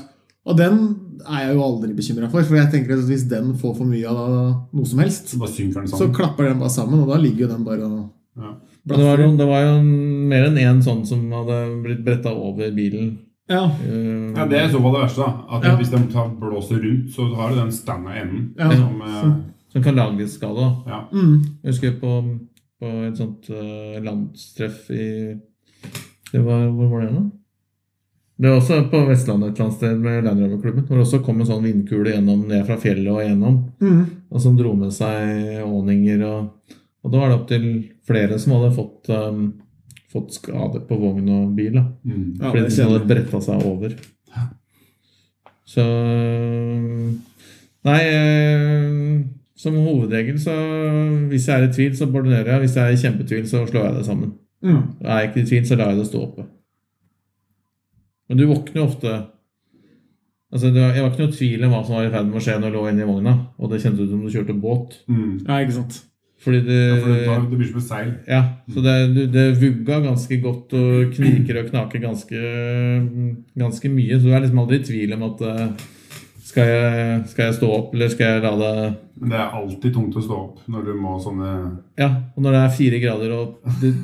Og den er jeg jo aldri bekymra for, for jeg tenker at hvis den får for mye av noe som helst, Så bare synker den så sammen. klapper den bare sammen, og da ligger jo den bare og Ja. Men det var, jo- det var jo mer enn én sånn som hadde blitt bretta over bilen. Ja, eh, Ja, det er i så fall det verste. da. At Ja. Hvis de tar blåser rundt, så har du den stanga i enden. Ja. Som, eh, Som kan lage skade. da. ja. mm. Jeg husker på, på et sånt eh, landstreff i det var, Hvor var det nå? Det var også på Vestlandet et eller annet sted med Land Rover-klubben. Hvor det også kom en sånn vindkule gjennom ned fra fjellet og gjennom. Mm. Og som dro med seg åninger og Og da var det opptil flere som hadde fått, um, fått skade på vogn og bil. da. Mm. Ja, Fordi det den hadde kjenner jeg. bretta seg over. Så Nei, eh, som hovedregel så Hvis jeg er i tvil, så bordinerer jeg. Hvis jeg er i kjempetvil, så slår jeg det sammen. Mm. Er jeg ikke i tvil, så lar jeg det stå oppe. Men du våkner jo ofte Altså, det var- Jeg var ikke noe tvil om hva som var i ferd med å skje når jeg lå inne i vogna. Og det kjentes ut som du kjørte båt. Mm. ja, ikke sant. Fordi Ja, for det, det tar, det blir som et seil. Ja, så det, du- det vugga ganske godt og kniker og knaker ganske, ganske mye. Så du er liksom aldri i tvil om at eh, Skal jeg, skal jeg stå opp, eller skal jeg la det Men det er alltid tungt å stå opp når du må sånne Ja, og når det er fire grader og det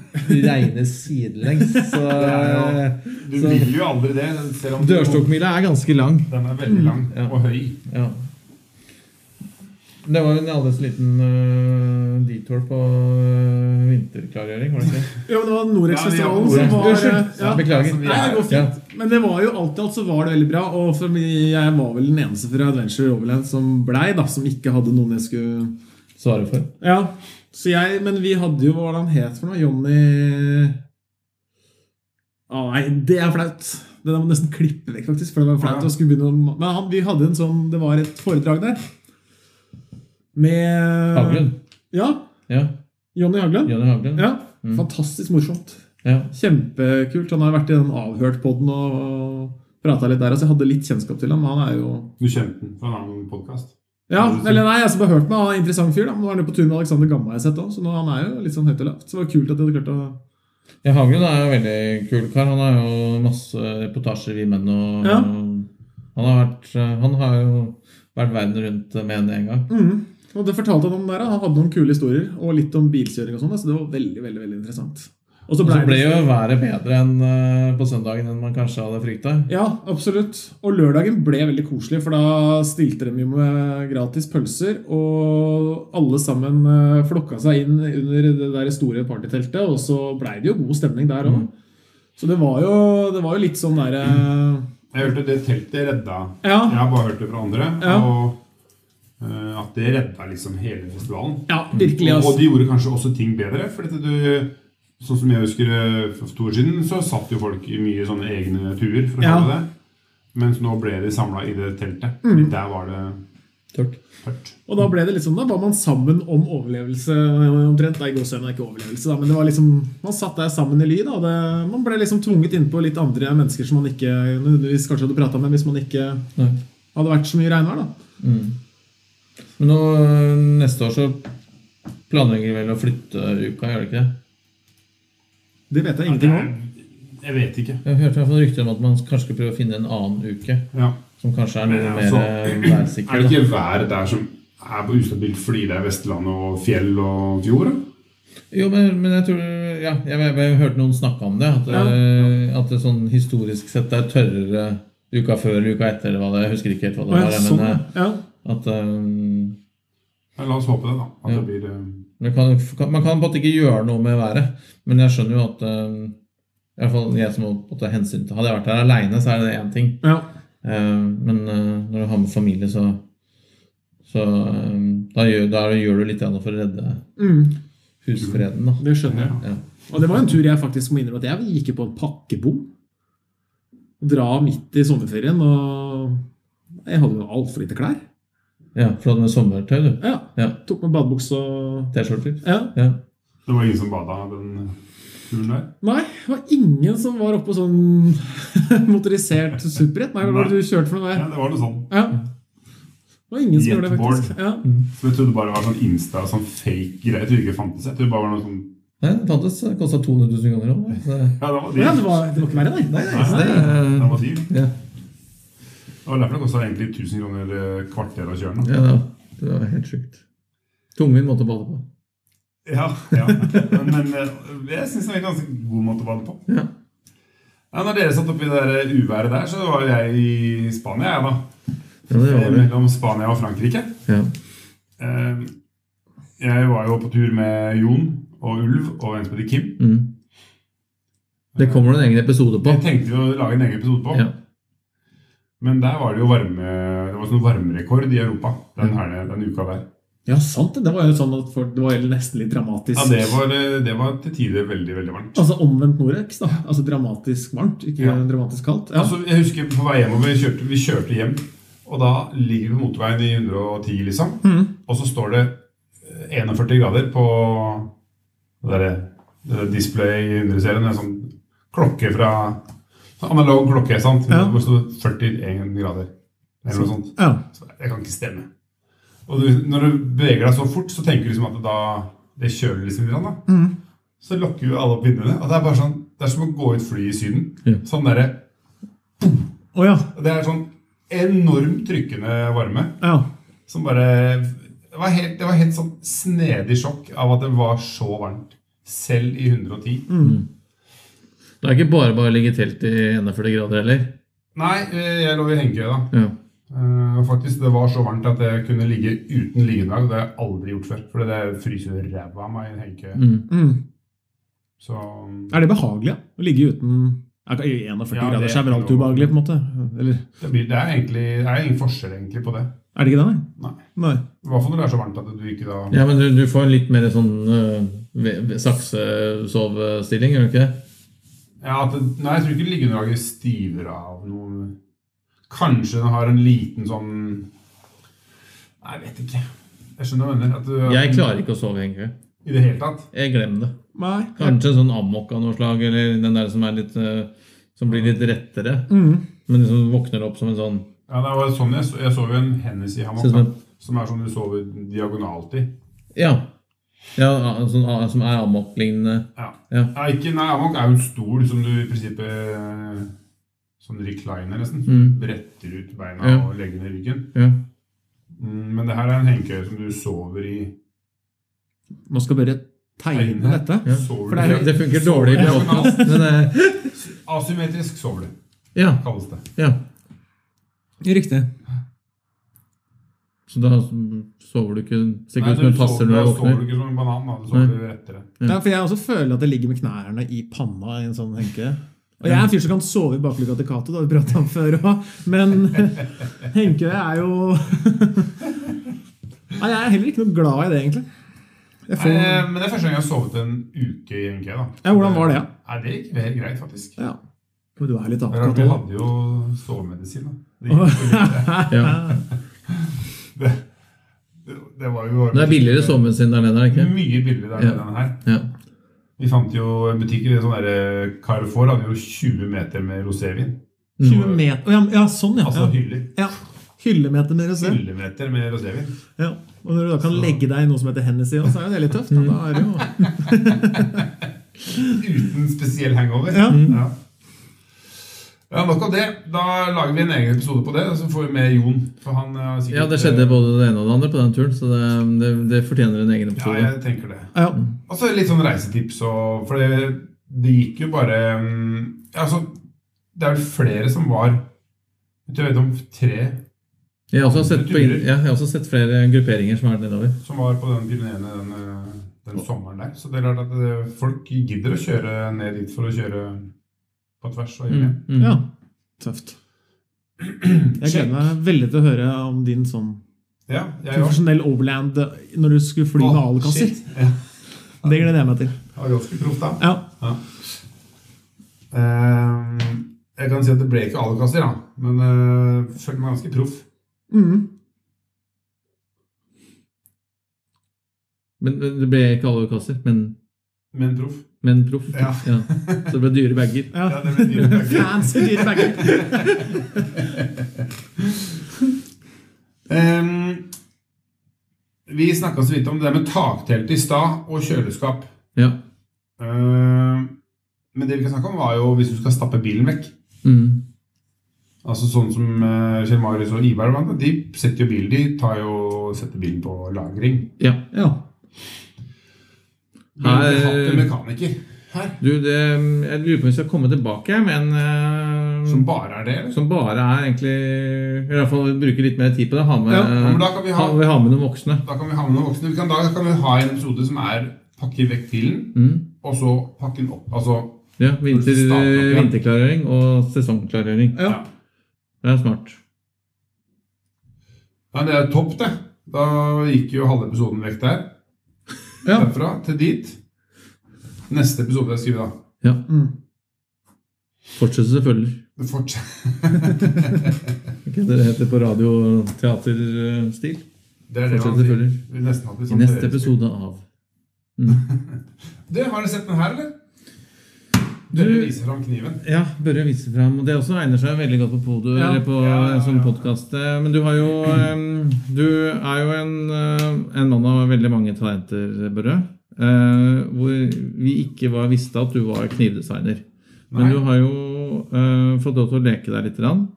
regner sidelengs, (laughs) så, eh, Ja, Du så vil jo aldri det, selv om Dørstokkmila er ganske lang. den er veldig lang Mm. Ja. og høy. Ja. Det var en aldri så liten øh, detour på øh, vinterklargjøring, var det ikke? Ja, men det var Ja, Norex-festivalen vi har- som var Unnskyld. eh, ja. Beklager. Nei, det går Ja. fint. Men det var jo alt i alt så var det veldig bra. Og for meg, jeg var vel den eneste fra Adventure Overland som blei, da, som ikke hadde noen jeg skulle Svare for. Ja. Så jeg, men vi hadde jo Hva var det han het for noe? Johnny ah, Nei, det er flaut. Det der må nesten klippe vekk, faktisk. For det var flaut Ja. å skulle begynne å Men han, vi hadde en sånn Det var et foredrag der. Med Haglund. Ja. Ja. Johnny Haglund. Johnny Haglund. Ja. Mm. Fantastisk morsomt. Ja. Kjempekult. Han har vært i den Avhørt-poden og prata litt der. Altså, jeg hadde litt kjennskap til ham. Han er jo Du kjente den fra en annen podkast. Ja, eller nei, jeg som bare hørt meg, han er en interessant fyr. da Nå er han jo på tur med Alexander Gamma, jeg har sett også, så nå, han er jo litt sånn høyt og lavt. Så det var kult at de hadde klart å Ja, Haglund er jo en veldig kul kar. Han har jo masse reportasjer i Menn og Ja. han, har vært, han har jo vært verden rundt med henne en gang. Mhm. Og det fortalte han om der. da. Han hadde noen kule historier, og litt om bilkjøring og sånn. da, Så det var veldig, veldig veldig interessant. Og så Og ble så ble det jo været bedre enn eh, på søndagen enn man kanskje hadde frykta. Ja, absolutt. Og lørdagen ble veldig koselig, for da stilte de jo med gratis pølser. Og alle sammen eh, flokka seg inn under det der store partyteltet, og så blei det jo god stemning der òg. Så det var, jo, det var jo litt sånn derre Jeg hørte det teltet redda Ja. Jeg har bare hørt det fra andre. Ja. Og eh, at det redda liksom hele festivalen. Ja, virkelig. Og, Altså. og de gjorde kanskje også ting bedre. For dette du, sånn som jeg husker eh, for to år siden, så satt jo folk i mye sånne egne tuer. for å Ja. kalle det. Mens nå ble de samla i det teltet. Mm. Der var det Tørt. tørt. Og da ble det litt sånn, da var man sammen om overlevelse omtrent. Nei, gåsehøyne er ikke overlevelse, da, men det var liksom, man satt der sammen i ly. da. Det, man ble liksom tvunget innpå litt andre mennesker som man ikke nødvendigvis kanskje hadde prata med hvis man ikke Nei. hadde vært så mye regnvær. da. Mm. Men nå, eh, neste år så planlegger vi vel å flytte uka, gjør det ikke det? Det vet jeg ingenting om. Jeg vet ikke. Jeg hørte i hvert fall rykter om at man kanskje skal prøve å finne en annen uke. Ja. Som kanskje er Men noe altså, mer eh, Er værsikker. det da. ikke været der som er på ustabilt fordi det er Vestlandet og fjell og fjord? da? Jo, men, men jeg tror Ja, jeg, jeg, jeg hørte noen snakke om det. At, det- at det sånn historisk sett er tørrere uka før eller uka etter. Eller hva det, jeg husker ikke helt hva det Å, ja, var. sånn, Men eh, ja. at eh, Ja, La oss håpe det, da. At Ja. det blir eh, Man kan, kan- man kan på en måte ikke gjøre noe med været, men jeg skjønner jo at eh, i hvert fall jeg som må på en måte hensyn til Hadde jeg vært her aleine, så er det én ting. ja. Eh, men eh, når du har med familie, så, så eh, da, gjør, da gjør du litt grann for å redde Mm, husfreden, da. det skjønner jeg. Ja. Og det var en tur jeg faktisk må innrømme at jeg gikk jo på en pakkebom. Dra midt i sommerferien, og jeg hadde jo altfor lite klær. ja for du hadde med sommertøy, du. Ja, Ja. Tok med badebukse og T-skjorter. ja. Ja. Det var ingen som bada den turen der? Nei, det var ingen som var oppe på sånn (laughs) motorisert superbrett. Nei, hva var det du kjørte for noe Ja, der? det var noe sånn. Ja. Det var ingen som gjorde det, faktisk. Jetboard. Ja. Som jeg trodde bare var sånn Insta, sånn fake greier. Jeg trodde ikke det fantes. Jeg trodde bare var noe sånn Nei, det fantes. Det kosta 200 000 kroner òg. Så, Ja, det var dyrt. ja, det var, det var ikke verre, nei. nei, så det, Det var dyrt. ja, Det var derfor det kosta egentlig 1000 kroner eh, kvarter å kjøre den. ja, det var- det var helt sjukt. Tungvint måte å bade på. Ja, ja. Men, men eh, jeg syns det var en ganske god måte å bade på. Ja. Ja, når dere satt oppi det der eh, uværet der, så var jeg i Spania, jeg, da. Eh, Ja, det var det. Mellom Spania og Frankrike. Ja. Eh, Jeg var jo på tur med Jon og Ulv og en som heter Kim. Mm. Det kommer det en egen episode på. Vi tenkte jo å lage en egen episode på. Ja. Men der var det jo varme Det var sånn varmerekord i Europa den, her, den uka der. Ja, sant det. Det var jo sånn at folk- det var jo nesten litt dramatisk. Ja, det var, eh, det var til tider veldig, veldig varmt. Altså omvendt Norex, da. Altså dramatisk varmt, ikke Ja. dramatisk kaldt. Ja. Altså, jeg husker på vei hjemover, vi kjørte, vi kjørte hjem, og da ligger vi på motorveien i 110, liksom. Og så står det eh, 41 grader på det der, det der display i 100-serien. En sånn klokke fra sånn Analog klokke, sant? Ja. Hvor det stod 41 grader. Eller noe sånt. ja. Så det Altså, kan ikke stemme. Og du, når du beveger deg så fort, så tenker du liksom at det da det kjøler liksom litt. grann, Da. Så lukker jo alle opp vinduene. Og det er bare sånn, det er som å gå i et fly i Syden. Ja. Sånn derre Å ja. Det er sånn enormt trykkende varme. Ja. Som bare det var, helt, det var helt sånn snedig sjokk av at det var så varmt. Selv i 110. Mm. Det er ikke bare bare å ligge i telt i 41 grader heller. Nei, eh, jeg lå i hengekøye da. Ja. Eh, og faktisk, Det var så varmt at jeg kunne ligge uten liggeunderlag. Det har jeg aldri gjort før. For det fryser jo ræva av meg i en hengekøye. Mm. Mm. Så Er det behagelig ja? å ligge uten ja, I 41 Ja, det grader så er er vel alt jo- ubehagelig, på en måte? Eller det, blir, det, er egentlig, det er ingen forskjell egentlig på det. er det ikke det? Nei. Nei. I hvert fall når det er så varmt at du ikke da Ja, men du, du får litt mer sånn øh, ve- ve- saksesovestilling, gjør du ikke det? ja, at det, Nei, jeg tror ikke liggeunderlaget stiver av noe Kanskje den har en liten sånn Nei, jeg vet ikke. Jeg skjønner hva du mener. At du, Jeg klarer ikke å sove i hengekøye. I det hele tatt. Jeg glemmer det. Nei. Kanskje en sånn amok av noe slag, eller den der som, er litt, øh, som blir litt rettere. Mm. Men liksom våkner opp som en sånn Ja, det var sånn Jeg, så, jeg sov jo Ser en ut som Hennessy-hammock, en- da, som er sånn du sover diagonalt i. Ja. ja a- sånn, a- som er amok-lignende. Ja. Ja. Ja, ikke, nei, hammock er jo en stol som du i prinsippet eh, Sånn recliner, nesten. Mm. Bretter ut beina Ja. og legger ned ryggen. Ja. Mm, men det her er en hengekøye som du sover i. Nå skal jeg bare tegne Tegne. dette. Ja. Sover For det du er- Det funker dårlig på podcast, men det Asymmetrisk sover du, Ja. kalles det. ja. Riktig. Så da sover du ikke Ser ikke ut som Nei, du passer sover, når du da sover våkner. du ikke som en banan, da. Du sover rettere. Ja. Ja, for jeg også føler at jeg ligger med knærne i panna i en sånn henke. Og jeg er en fyr som kan sove i baklukka til Cato, det har vi pratet om før òg, men (laughs) Henke er jo (laughs) Nei, jeg er heller ikke noe glad i det, egentlig. Nei, Jeg får... eh, men det er første gang jeg har sovet en uke i hengekøye, da. Ja, hvordan var det, ja? Nei, det gikk helt greit, faktisk. ja. Men du er litt Det er rart, Vi avkalt. hadde jo sovemedisin, da. Det, gikk, Ja. det, det var jo Men det er billigere sovemedisin der nede, er det ikke? Mye billigere der Ja. enn den her. Ja. Vi fant jo en butikk i det sånn derre Carrefour hadde jo 20 meter med rosévin. 20 meter Å, ja, ja, sånn, ja. Altså hyller. ja. ja. Hyllemeter med rosé. Hyllemeter med rosévin. Ja. Og når du da kan legge deg i noe som heter Hennessy også, så er jo det litt tøft. Da. Da er det jo... Uten spesiell hangover. Ja. Mm. Ja. Ja, Nok om det. Da lager vi en egen episode på det, og så får vi med Jon. For han eh, har sikkert ja, det skjedde både det ene og det andre på den turen, så det, det, det fortjener en egen Ja, episode. jeg tenker det. Ja. Og så litt sånn reisetips og For det, det gikk jo bare mm, Altså, det er vel flere som var Jeg vet om tre Jeg har også sett, på, in- ja, jeg har også sett flere grupperinger som har vært nedover. som var på den Pyreneene den, eh, den sommeren der. Så det er klart at eh, folk gidder å kjøre ned dit for å kjøre på tvers og hjem. Mm, igjen. mm. ja. Tøft. Jeg gleder meg veldig til å høre om din sånn Ja, jeg òg. profesjonell overland eh, når du skulle fly med alekasser. Ja, Det gleder jeg meg til. det var ganske proft, da. Ja. Eh, jeg kan si at det ble ikke alekasser, da. Men uh, følte meg ganske proff. Mhm. Men men det ble ikke alle kasser, men, Men proff. men proff. Ja. Ja. Så det ble dyre bager. ja. Ja, det ble dyrt. (laughs) Fancy dyre bager. Ehm, vi snakka så vidt om det der med taktelt i stad og kjøleskap. Ja. Ehm, men det vi kan snakke om, var jo hvis du skal stappe bilen vekk. Mm. Altså Sånn som eh, Kjell Marius og Ivar blant annet, De setter jo bilen de tar jo, setter bilen på lagring. ja. Ja. Vi har Her- hatt en mekaniker her Du, det, jeg lurer på om vi skal komme tilbake, men eh, som bare er det. som liksom. eller? bare er egentlig eller I hvert fall bruke litt mer tid på det. Ha med, Ja, Ja, men da kan vi ha, ha- vi har med noen voksne. da kan vi ha med noen voksne. Vi kan, da kan vi ha en episode som er pakke vekk bilen, Mm. og så pakke den opp. Altså, Ja, vinter, Starte opp igjen. Vinterklargjøring og sesongklargjøring. Ja. Det er smart. ja, Det er jo topp, det. Da gikk jo halve episoden vekk der. Ja. Derfra til dit. Neste episode jeg skriver da. Mm. Fortsettelse følger. Det forts- Ikke det det heter på radio- og teaterstil? (laughs) Det er det man Fortsettelse sier. følger. Vi nesten hatt litt I sånn neste teoretisk. episode av Du, har du sett den her, eller? Du Du- viser fram kniven. Ja, Børre vise fram. Og det også egner seg veldig godt på podio Ja. eller på Ja, ja, ja. som podkast. Eh, Men du har jo em, Du er jo en, eh, en mann av veldig mange talenter, Børre. Eh, hvor vi ikke var, visste at du var knivdesigner. Men Nei. du har jo eh, fått lov til å leke deg litt. Grann,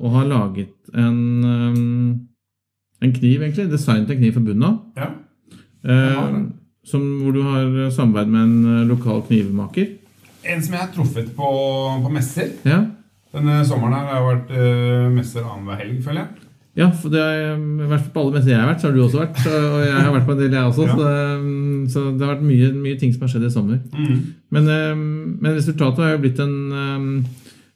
Og har laget en, eh, en kniv, egentlig. Designet en kniv for bunnen av. Ja. har Eh, det. som, hvor du har samarbeid med en eh, lokal knivmaker. En som jeg har truffet på, på messer. Ja. Denne sommeren her har jeg vært eh, messer annenhver helg, føler jeg. Ja, for det er, um, i hvert fall på alle messer jeg har vært, så har du også vært. så- Og jeg har vært på en del, jeg også. Ja. Så, det, um, så det har vært mye, mye ting som har skjedd i sommer. Mm. Men, um, men resultatet har jo blitt en, um,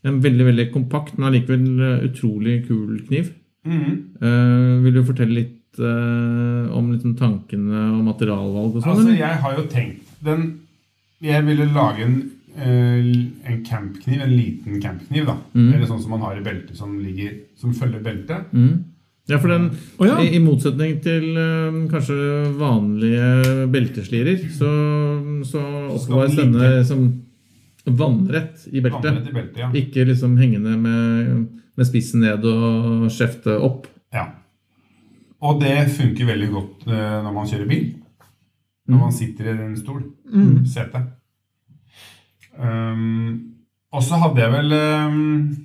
en veldig veldig kompakt, men allikevel uh, utrolig kul kniv. Mhm. Eh, vil du fortelle litt eh, om liksom, tankene og materialvalg og sånn? Altså, eller? jeg har jo tenkt den Jeg ville lage en, eh, en campkniv, en liten campkniv, da. Eller sånn som man har i beltet, som, ligger, som følger beltet. Mm. Ja, for den, Å, ja. i, i motsetning til øhm, kanskje vanlige belteslirer, så, så oppbevares ligge. denne som vannrett i beltet. Vannrett i beltet, ja. Ikke liksom hengende med, med spissen ned og skjeftet opp. Ja. Og det funker veldig godt eh, når man kjører bil. Når man sitter i en stol. Sete. Um, og så hadde jeg vel um,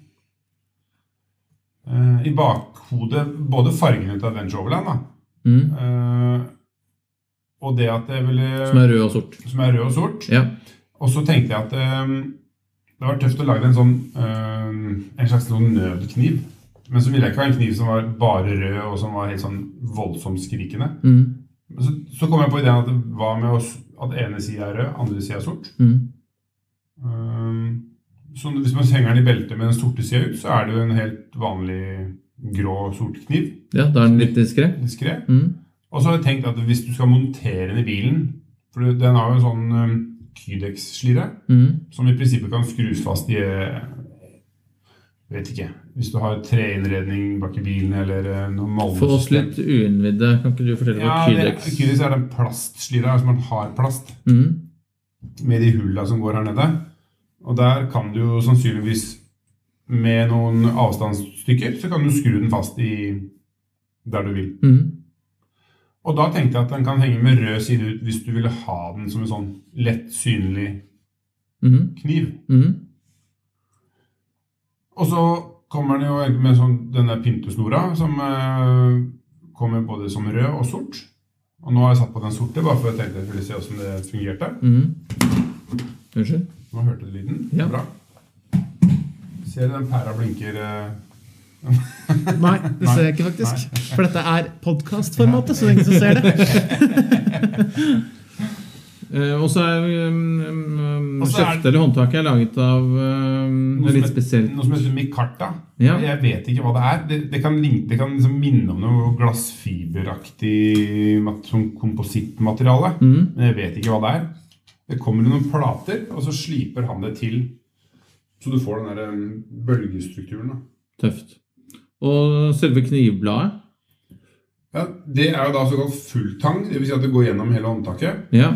eh, i bakhodet både fargene til Adventure Overland da. Mm. Eh, og det at jeg ville Som er rød og sort. som er rød og sort. Ja. Og så tenkte jeg at um, det var tøft å lage en sånn um, en slags sånn nødkniv. Men så ville jeg ikke ha en kniv som var bare rød og som var helt sånn voldsomt skrikende. Mm. Men Så, så kom jeg på ideen at det var med oss at ene sida er rød, andre sida er sort. Mm. Um, så hvis man henger den i beltet med den sorte sida ut, så er det jo en helt vanlig grå sort kniv. ja, da er den litt diskré. Diskré. Mm. Og så har jeg tenkt at hvis du skal montere den i bilen For den har jo en sånn um, Kydex-slire Mm. som i prinsippet kan skrus fast i eh, Vet ikke. Hvis du har treinnredning bak i bilen eller eh, noe malmesystem. For oss litt uinnvidde, kan ikke du fortelle ja, hva Kydex. Kydex Kydex er den plastslira altså man har plast mm. med de hulla som går her nede. Og der kan du jo sannsynligvis med noen avstandsstykker så kan du skru den fast i der du vil. Mm. Og da tenkte jeg at den kan henge med rød side ut hvis du ville ha den som en sånn lett synlig Mm. kniv. Mm. Og så kommer den jo egentlig med sånn, denne pyntesnora, som eh, kommer både som rød og sort. Og nå har jeg satt på den sorte, bare for jeg tenkte jeg ville se hvordan det fungerte. Mm. Unnskyld? Nå hørte du lyden. Ja. Bra. Ser du den pæra blinker eh, Nei, det ser jeg ikke faktisk. For dette er podkastformatet, så det er ingen som ser det. Eh, og så er um, um, Og så er- skjeftet eller håndtaket er laget av um, noe, som litt heter- spesielt noe som heter mikarta. Ja. Jeg vet ikke hva det er. Det, det kan, lin- det kan liksom minne om noe glassfiberaktig mat, sånn komposittmateriale. Mhm. Men jeg vet ikke hva det er. Det kommer i noen plater, og så sliper han det til. Så du får den der eh, bølgestrukturen. Da. tøft. Og selve knivbladet. Ja, det er jo da såkalt fulltang, dvs. Si at det går gjennom hele håndtaket. Ja.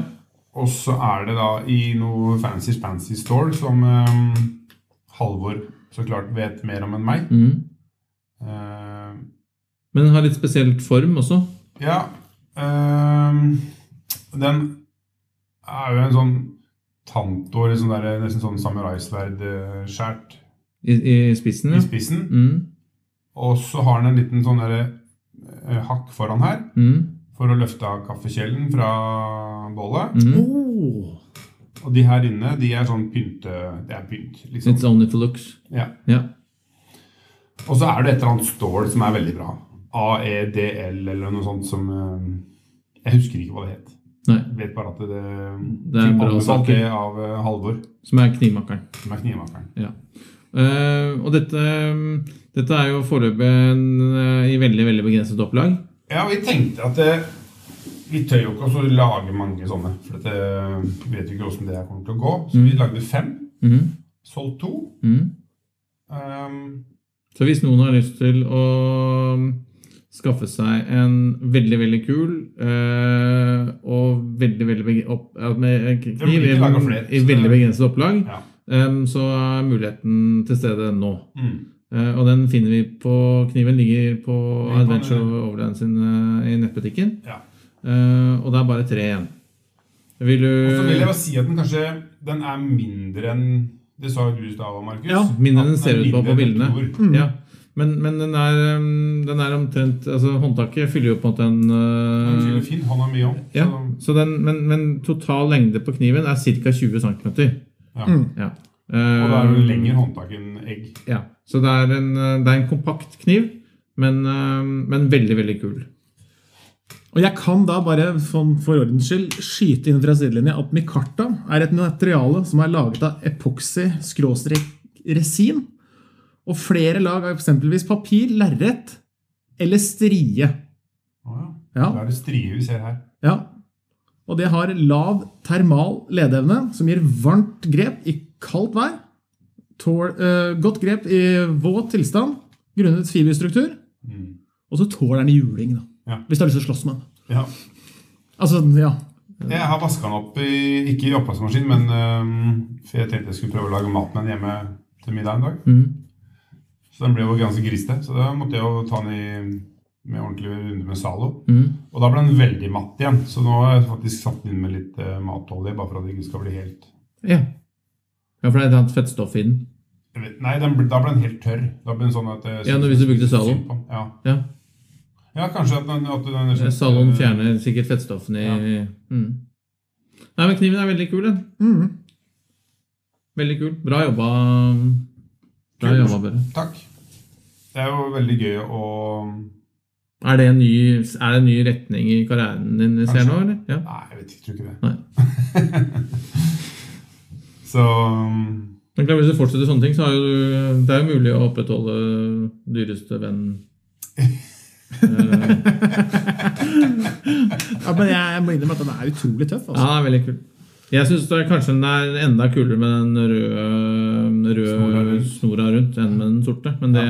Og så er det da i noe fancy spancy store som eh, Halvor så klart vet mer om enn meg. Mhm. Eh, Men den har litt spesielt form også. Ja. ehm, den er jo en sånn tanto, eller sånn der, nesten sånn samuraisverdskjært I, i spissen, i ja. spissen. Mhm. Og så har den en liten sånn der, eh, hakk foran her Mhm. for å løfte av kaffekjelen fra bollet. Mhm. Oh. Og de her inne, de er sånn pynte... Det er pynt, liksom. It's only for looks. Ja. Ja. Og så er det et eller annet stål som er veldig bra. AEDL eller noe sånt som eh, Jeg husker ikke hva det het. Nei. Jeg vet bare at det, Det er fikk bra anbefalt saker. det av eh, Halvor, Som er knivmakeren. som er knivmakeren. Ja. Eh, og dette, um, dette er jo foreløpig en, eh, i veldig veldig begrenset opplag. Ja, vi tenkte at eh, vi tør jo ikke også lage mange sånne. For at, eh, vi vet jo ikke åssen det her kommer til å gå. Så Mm. vi lagde fem. Mhm. Solgt to. Mhm. ehm, Så hvis noen har lyst til å skaffe seg en veldig, veldig kul eh, og veldig, veldig beg- opp, ja, med en kniv blir ikke i- laget flere, i så det- veldig begrenset opplag, ja. em, så er muligheten til stede nå. Mm. Eh, og den finner vi på Kniven ligger på Ligger på Adventure den, Overland sin eh, i nettbutikken. ja. Eh, og det er bare tre igjen. Vil Og så vil jeg du bare si at den kanskje den er mindre enn Det sa jo du i stad, Markus. Ja, Mindre enn At den ser ut på mindre på enn du bildene. tror. Mm. Ja. Men, men den, er, øhm, den er omtrent altså Håndtaket fyller jo på en måte en øh, Den fyller Finn, han har mye om. ja, så- så den, men, men total lengde på kniven er ca. 20 cm. Ja. Ja. Ehm, Og det er jo lengre håndtak enn egg. Ja. Så det er en, øh, det er en kompakt kniv, men, øh, men veldig, veldig kul. Og jeg kan da bare for, for ordens skyld skyte inn fra sidelinja at mikarta er et materiale som er laget av epoksy-resin. Og flere lag av eksempelvis papir, lerret eller strie. Å, ja. Ja. Da er det strie vi ser her. Ja. Og det har lav termal ledeevne, som gir varmt grep i kaldt vær. Tål, eh, godt grep i våt tilstand, grunnet fiberstruktur. Mm. Og så tåler den juling, da. Ja. Hvis du har lyst til å slåss med den. Ja. Altså, ja. Jeg har vaska den opp, i, ikke i oppvaskmaskin, men øhm, for jeg tenkte jeg skulle prøve å lage mat med den hjemme til middag en dag. Så den ble jo ganske griste, så da måtte jeg jo ta den i med ordentlig runde med Zalo. Og da ble den veldig matt igjen, så nå har jeg faktisk satt den inn med litt eh, matolje. bare for at det ikke skal bli helt... Ja. ja, for det er et annet fettstoff i den. Jeg vet, nei, den, ble- da ble den helt tørr. Da ble den sånn at... jeg Ja, synes- når- hvis du brukte Zalo. synd på den. Ja. Ja. ja, kanskje at den... sånn, At den Eh, Salon fjerner sikkert fettstoffene i mm. Nei, men kniven er veldig kul, den. Veldig kul. Bra jobba. Bra Kult. jobba, Børre. Takk. Det er jo veldig gøy å Er det, en ny, er det en ny retning i karrieren din vi ser nå, Kanskje. eller? Ja. Nei, jeg vet ikke, jeg tror ikke det. Nei. Så um, Men klart, hvis du fortsetter sånne ting, så er jo du, det er jo mulig å opprettholde dyreste venn Eh, Ja, men jeg, jeg må innrømme at den er utrolig tøff. Ja, Altså. den er veldig kul. Jeg syns kanskje den er enda kulere med den røde, røde Snora rundt. snora rundt enn med den sorte. Men det,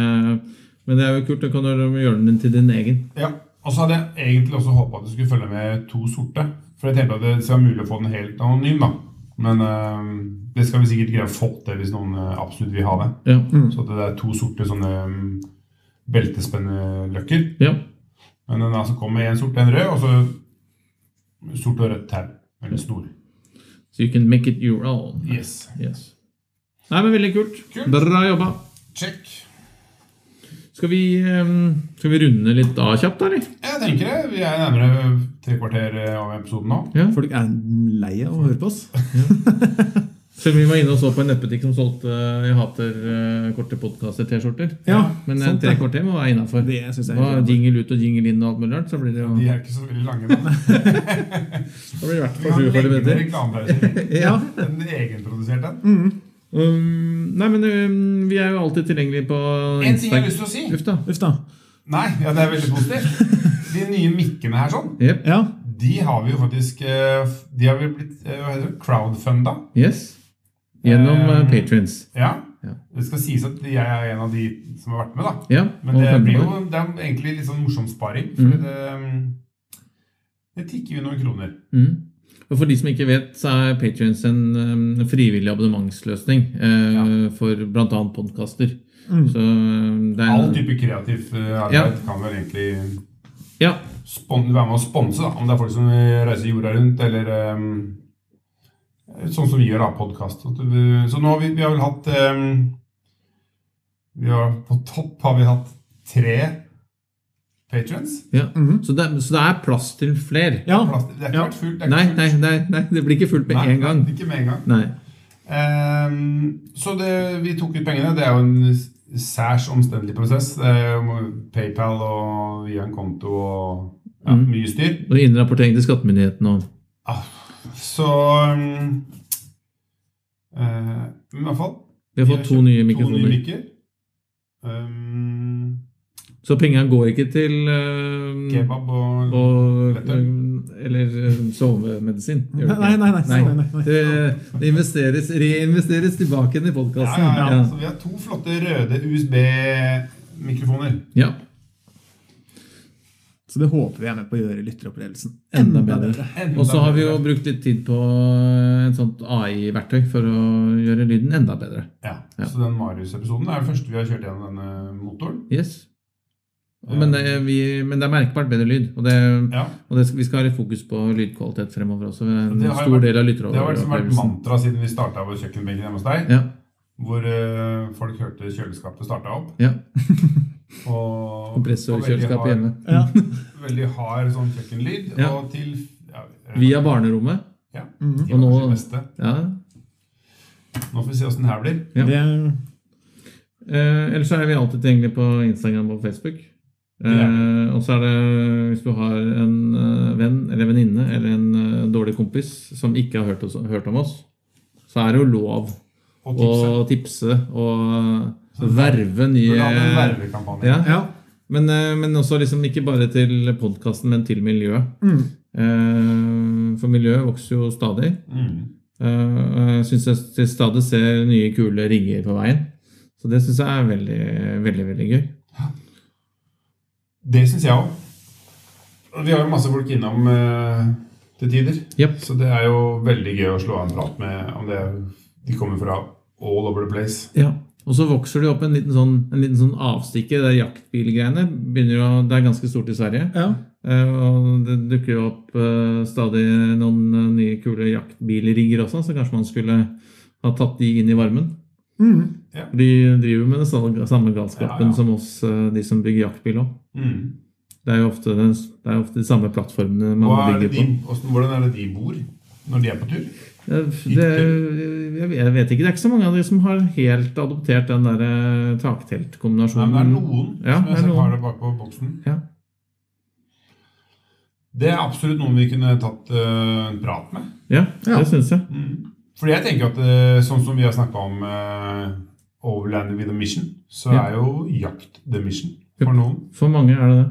men det er jo kult. Da kan du gjøre den til din egen. ja. Og så hadde jeg egentlig også håpa at du skulle følge med to sorte. For jeg tenkte at det skal være mulig å få den helt anonym, da. Men um, det skal vi sikkert greie å få til hvis noen uh, absolutt vil ha det. Ja. Så at det er to sorte sånne um, beltespenneløkker. ja. Men den altså kom med én sort og en rød, og så sort og rødt tau. Eller snor. So you can make it your own. Yes. Yes. Nei, men veldig kult. Kult. Bra jobba. Check. Skal vi, eh, skal vi runde litt av kjapt, da, eller? Jeg tenker det. Vi er nærmere tre kvarter eh, av episoden nå. Ja. Folk er lei av å høre på oss. Selv om vi var inne og så på en nettbutikk som solgte eh, Jeg hater eh, korte podkaster-T-skjorter. Ja, Men eh, sant tre det. kvarter må være innafor. Det synes jeg er helt innenfor. Jingle ut og jingle inn og alt mulig rart. Så blir det jo De er ikke så veldig lange, da. (laughs) Da blir det i hvert Vi fall 47 kan legge ned minutter. reklamepausen. (laughs) Ja. Mm, Den egenproduserte. Um, nei, men um, vi er jo alltid tilgjengelige på En ting jeg har lyst til å si. Uff da. Uff da. Nei, ja, det er veldig positivt. De nye mikkene her sånn, Jep. Ja. de har vi jo faktisk eh, De har vi blitt eh, hva heter det, crowdfunda. Yes. Gjennom uh, Um, patrions. Ja. Ja. Det skal sies at jeg er en av de som har vært med, da. Ja. Men og det femte blir år. jo det er egentlig litt sånn morsom sparing. For det, um, det tikker jo noen kroner. mm. Og for de som ikke vet, så er patrions en um, frivillig abonnementsløsning uh, for bl.a. podkaster. Mm. Så um, det er All type kreativt eh, arbeid kan vel egentlig Ja. spon være med å sponse, da. Om det er folk som reiser jorda rundt, eller eh, sånn som vi gjør, da, podkast. Så nå har vi, vi har vel hatt eh, vi har, På topp har vi hatt tre patrions. ja. Så, det, så det er plass til flere. Mhm. ja. Plass til- Det er ikke Ja. vært fullt. det er Nei, ikke fullt. nei, nei, nei, det blir ikke fullt med Nei, en gang. Ikke med en gang. Nei. Ehm, så det, vi tok ut pengene. Det er jo en s- særs omstendelig prosess. Det er jo PayPal og via en konto og ja, Mm. mye styr. Og innrapportering til skattemyndigheten og Så um, eh, I hvert fall. Vi har fått to nye To nye mikrofoner. mikker. Um, Så penga går ikke til eh, kebab og og, Vet Eller eh, sovemedisin. Gjør det Nei, ikke? nei, nei. nei, nei, nei. Det, det investeres, reinvesteres tilbake inn i ja, podkasten. ja, ja. Så vi har to flotte røde USB-mikrofoner. Ja. Så det håper vi er med på å gjøre lytteropplevelsen Enda bedre. Enda Og så har vi jo bedre. brukt litt tid på eh, et sånt AI-verktøy for å gjøre lyden enda bedre. ja. Ja. Så den Marius-episoden er den første vi har kjørt gjennom denne motoren. Yes. Men det, vi, men det er merkbart bedre lyd. Og, det, Ja. og det, skal- vi skal ha litt fokus på lydkvalitet fremover også. En Det har jo stor vært- del av Det har vært, vært lytteropplevelsen. mantra siden vi starta vår kjøkkenbenk hjemme hos deg. Ja. hvor eh, folk hørte kjøleskapet starta opp. Ja. Og, Kompressorkjøleskap og hjemme. veldig hard- Ja. Veldig hard sånn kjøkkenlyd. Ja. Og til ja, eh, Via barnerommet. ja, Og nå, nå- Ja. nå får vi se åssen det her blir. Ja. Det, Eh, ellers så er vi alltid tilgjengelig på Instagram og Facebook. Eh, Og så er det hvis du har en eh, venn eller venninne eller en eh, dårlig kompis som ikke har hørt, oss, hørt om oss, så er det jo lov Og tipset. å tipse og eh, verve nye Burde hatt en vervekampanje. eh, ja. Ja. Men, eh, men også liksom ikke bare til podkasten, men til miljøet. Eh, For miljøet vokser jo stadig. Mm. Eh, og Jeg syns jeg til stadig ser nye, kule rigger på veien. Så det syns jeg er veldig, veldig veldig gøy. Det syns jeg òg. Vi har jo masse folk innom eh, til tider. Jep. Så det er jo veldig gøy å slå av en prat med om det de kommer fra all over the place. Ja. Og så vokser det jo opp en liten sånn, en liten sånn avstikke. Det er jaktbilgreiene. Begynner å, det er ganske stort i Sverige. ja. Eh, Og det dukker jo opp eh, stadig noen eh, nye, kule jaktbilrigger også, så kanskje man skulle ha tatt de inn i varmen. Mm. Ja. De driver med den samme- samme galskapen Ja, ja. som oss, eh, de som bygger jaktbil òg. Mm. Det er jo ofte, det er jo ofte de samme plattformene man Hva er det bygger de, på. hvordan, hvordan er det de bor når de er på tur? Ja, f- Det, jeg, jeg vet ikke. Det er ikke så mange av de som har helt adoptert den der eh, Nei, men det er takteltkombinasjonen. Mm. noen Ja, som det jeg er ser noen. har det bakpå boksen. Ja. Det er absolutt noen vi kunne tatt eh, en prat med. Mm. Ja, Ja. det syns jeg. Fordi jeg tenker at eh, sånn som vi har snakka om eh, Overland with a mission, så Ja. er jo jakt the mission Yep. for noen. For mange er det det.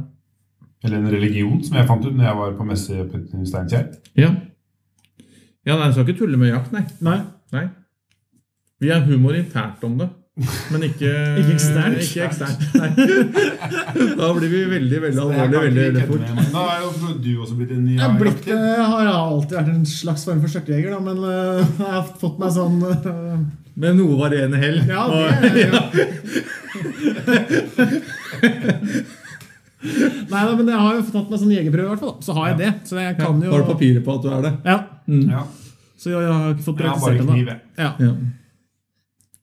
Eller en religion, som jeg fant ut når jeg var på messe i Putten- Steinkjer. Ja. ja nei, en skal ikke tulle med jakt, nei. Nei. nei. Vi er humor internt om det, men ikke (laughs) Ikke eksternt. Ikke eksternt, nei. (laughs) Da blir vi veldig, veldig alvorlige veldig, veldig fort. Da er jo du også blitt en ny Jeg er blitt, jakter. eh, har alltid vært en slags form for størtejeger, da, men eh, jeg har fått meg sånn eh, Med noe varierende hell. Ja, Og- det er jo (laughs) Nei da, men jeg har jo fått tatt meg sånn jegerprøve, i hvert fall. da. Så har jeg det. Så jeg kan jo Har du papirer på at du er det? Ja, Ja. Så jeg har ikke fått Jeg har bare praktisert kniv, ennå. jeg. Ja. Ja.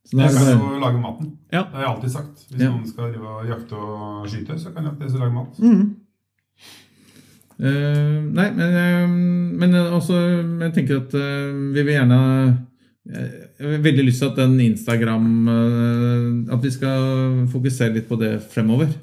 Så det Jeg er bare, kan jo lage maten. Ja. Det har jeg alltid sagt. Hvis Ja. noen skal drive og jakte og skyte, så kan jeg alltid lage mat. Mm. Eh, nei, men, eh, men også, jeg tenker at eh, vi vil gjerne eh, Jeg har veldig lyst til at den Instagram eh, At vi skal fokusere litt på det fremover.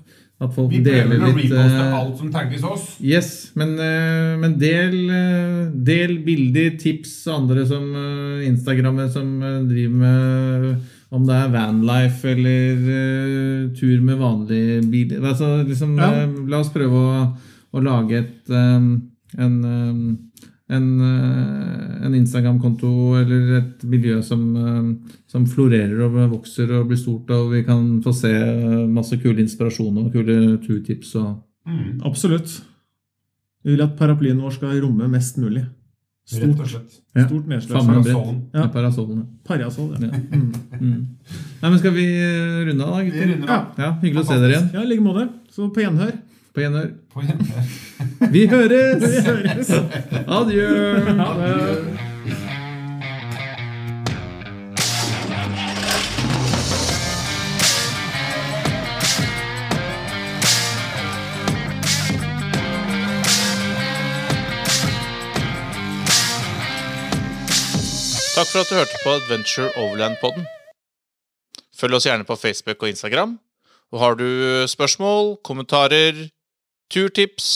At folk Vi prøver deler å litt reposte eh, alt som tagges oss. Yes, men, eh, men del, eh, del bilder, tips og andre som eh, Instagrammer som eh, driver med eh, Om det er vanlife eller eh, tur med vanlig bil altså, liksom, Ja. eh, La oss prøve å, å lage et, eh, en, eh, en, eh, en Instagram-konto eller et miljø som, eh, som florerer og vokser og blir stort, og vi kan få se eh, masse kule inspirasjoner og kule turtips. og Mm. Absolutt. Vi vil at paraplyen vår skal romme mest mulig. Rett Stort, og slett. Ja. stort nedslag. Samme Fra brett. Sollen. Ja. Med parasollene. Parasoll, ja. Ja. Mm. Nei, men skal vi eh, runde av, da, Vi gutter? runder av. Ja, hyggelig å se dere igjen. Ja, I like måte. Så på gjenhør. På gjenhør. På gjenhør. Vi høres! høres. Adjø! Takk for at du hørte på Adventure Overland-podden. Følg oss gjerne på Facebook og Instagram. Og har du spørsmål, kommentarer, turtips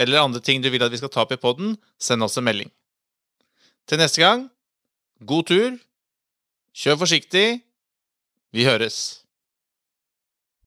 eller andre ting du vil at vi skal ta opp i podden, send oss en melding. Til neste gang, god tur, kjør forsiktig, vi høres.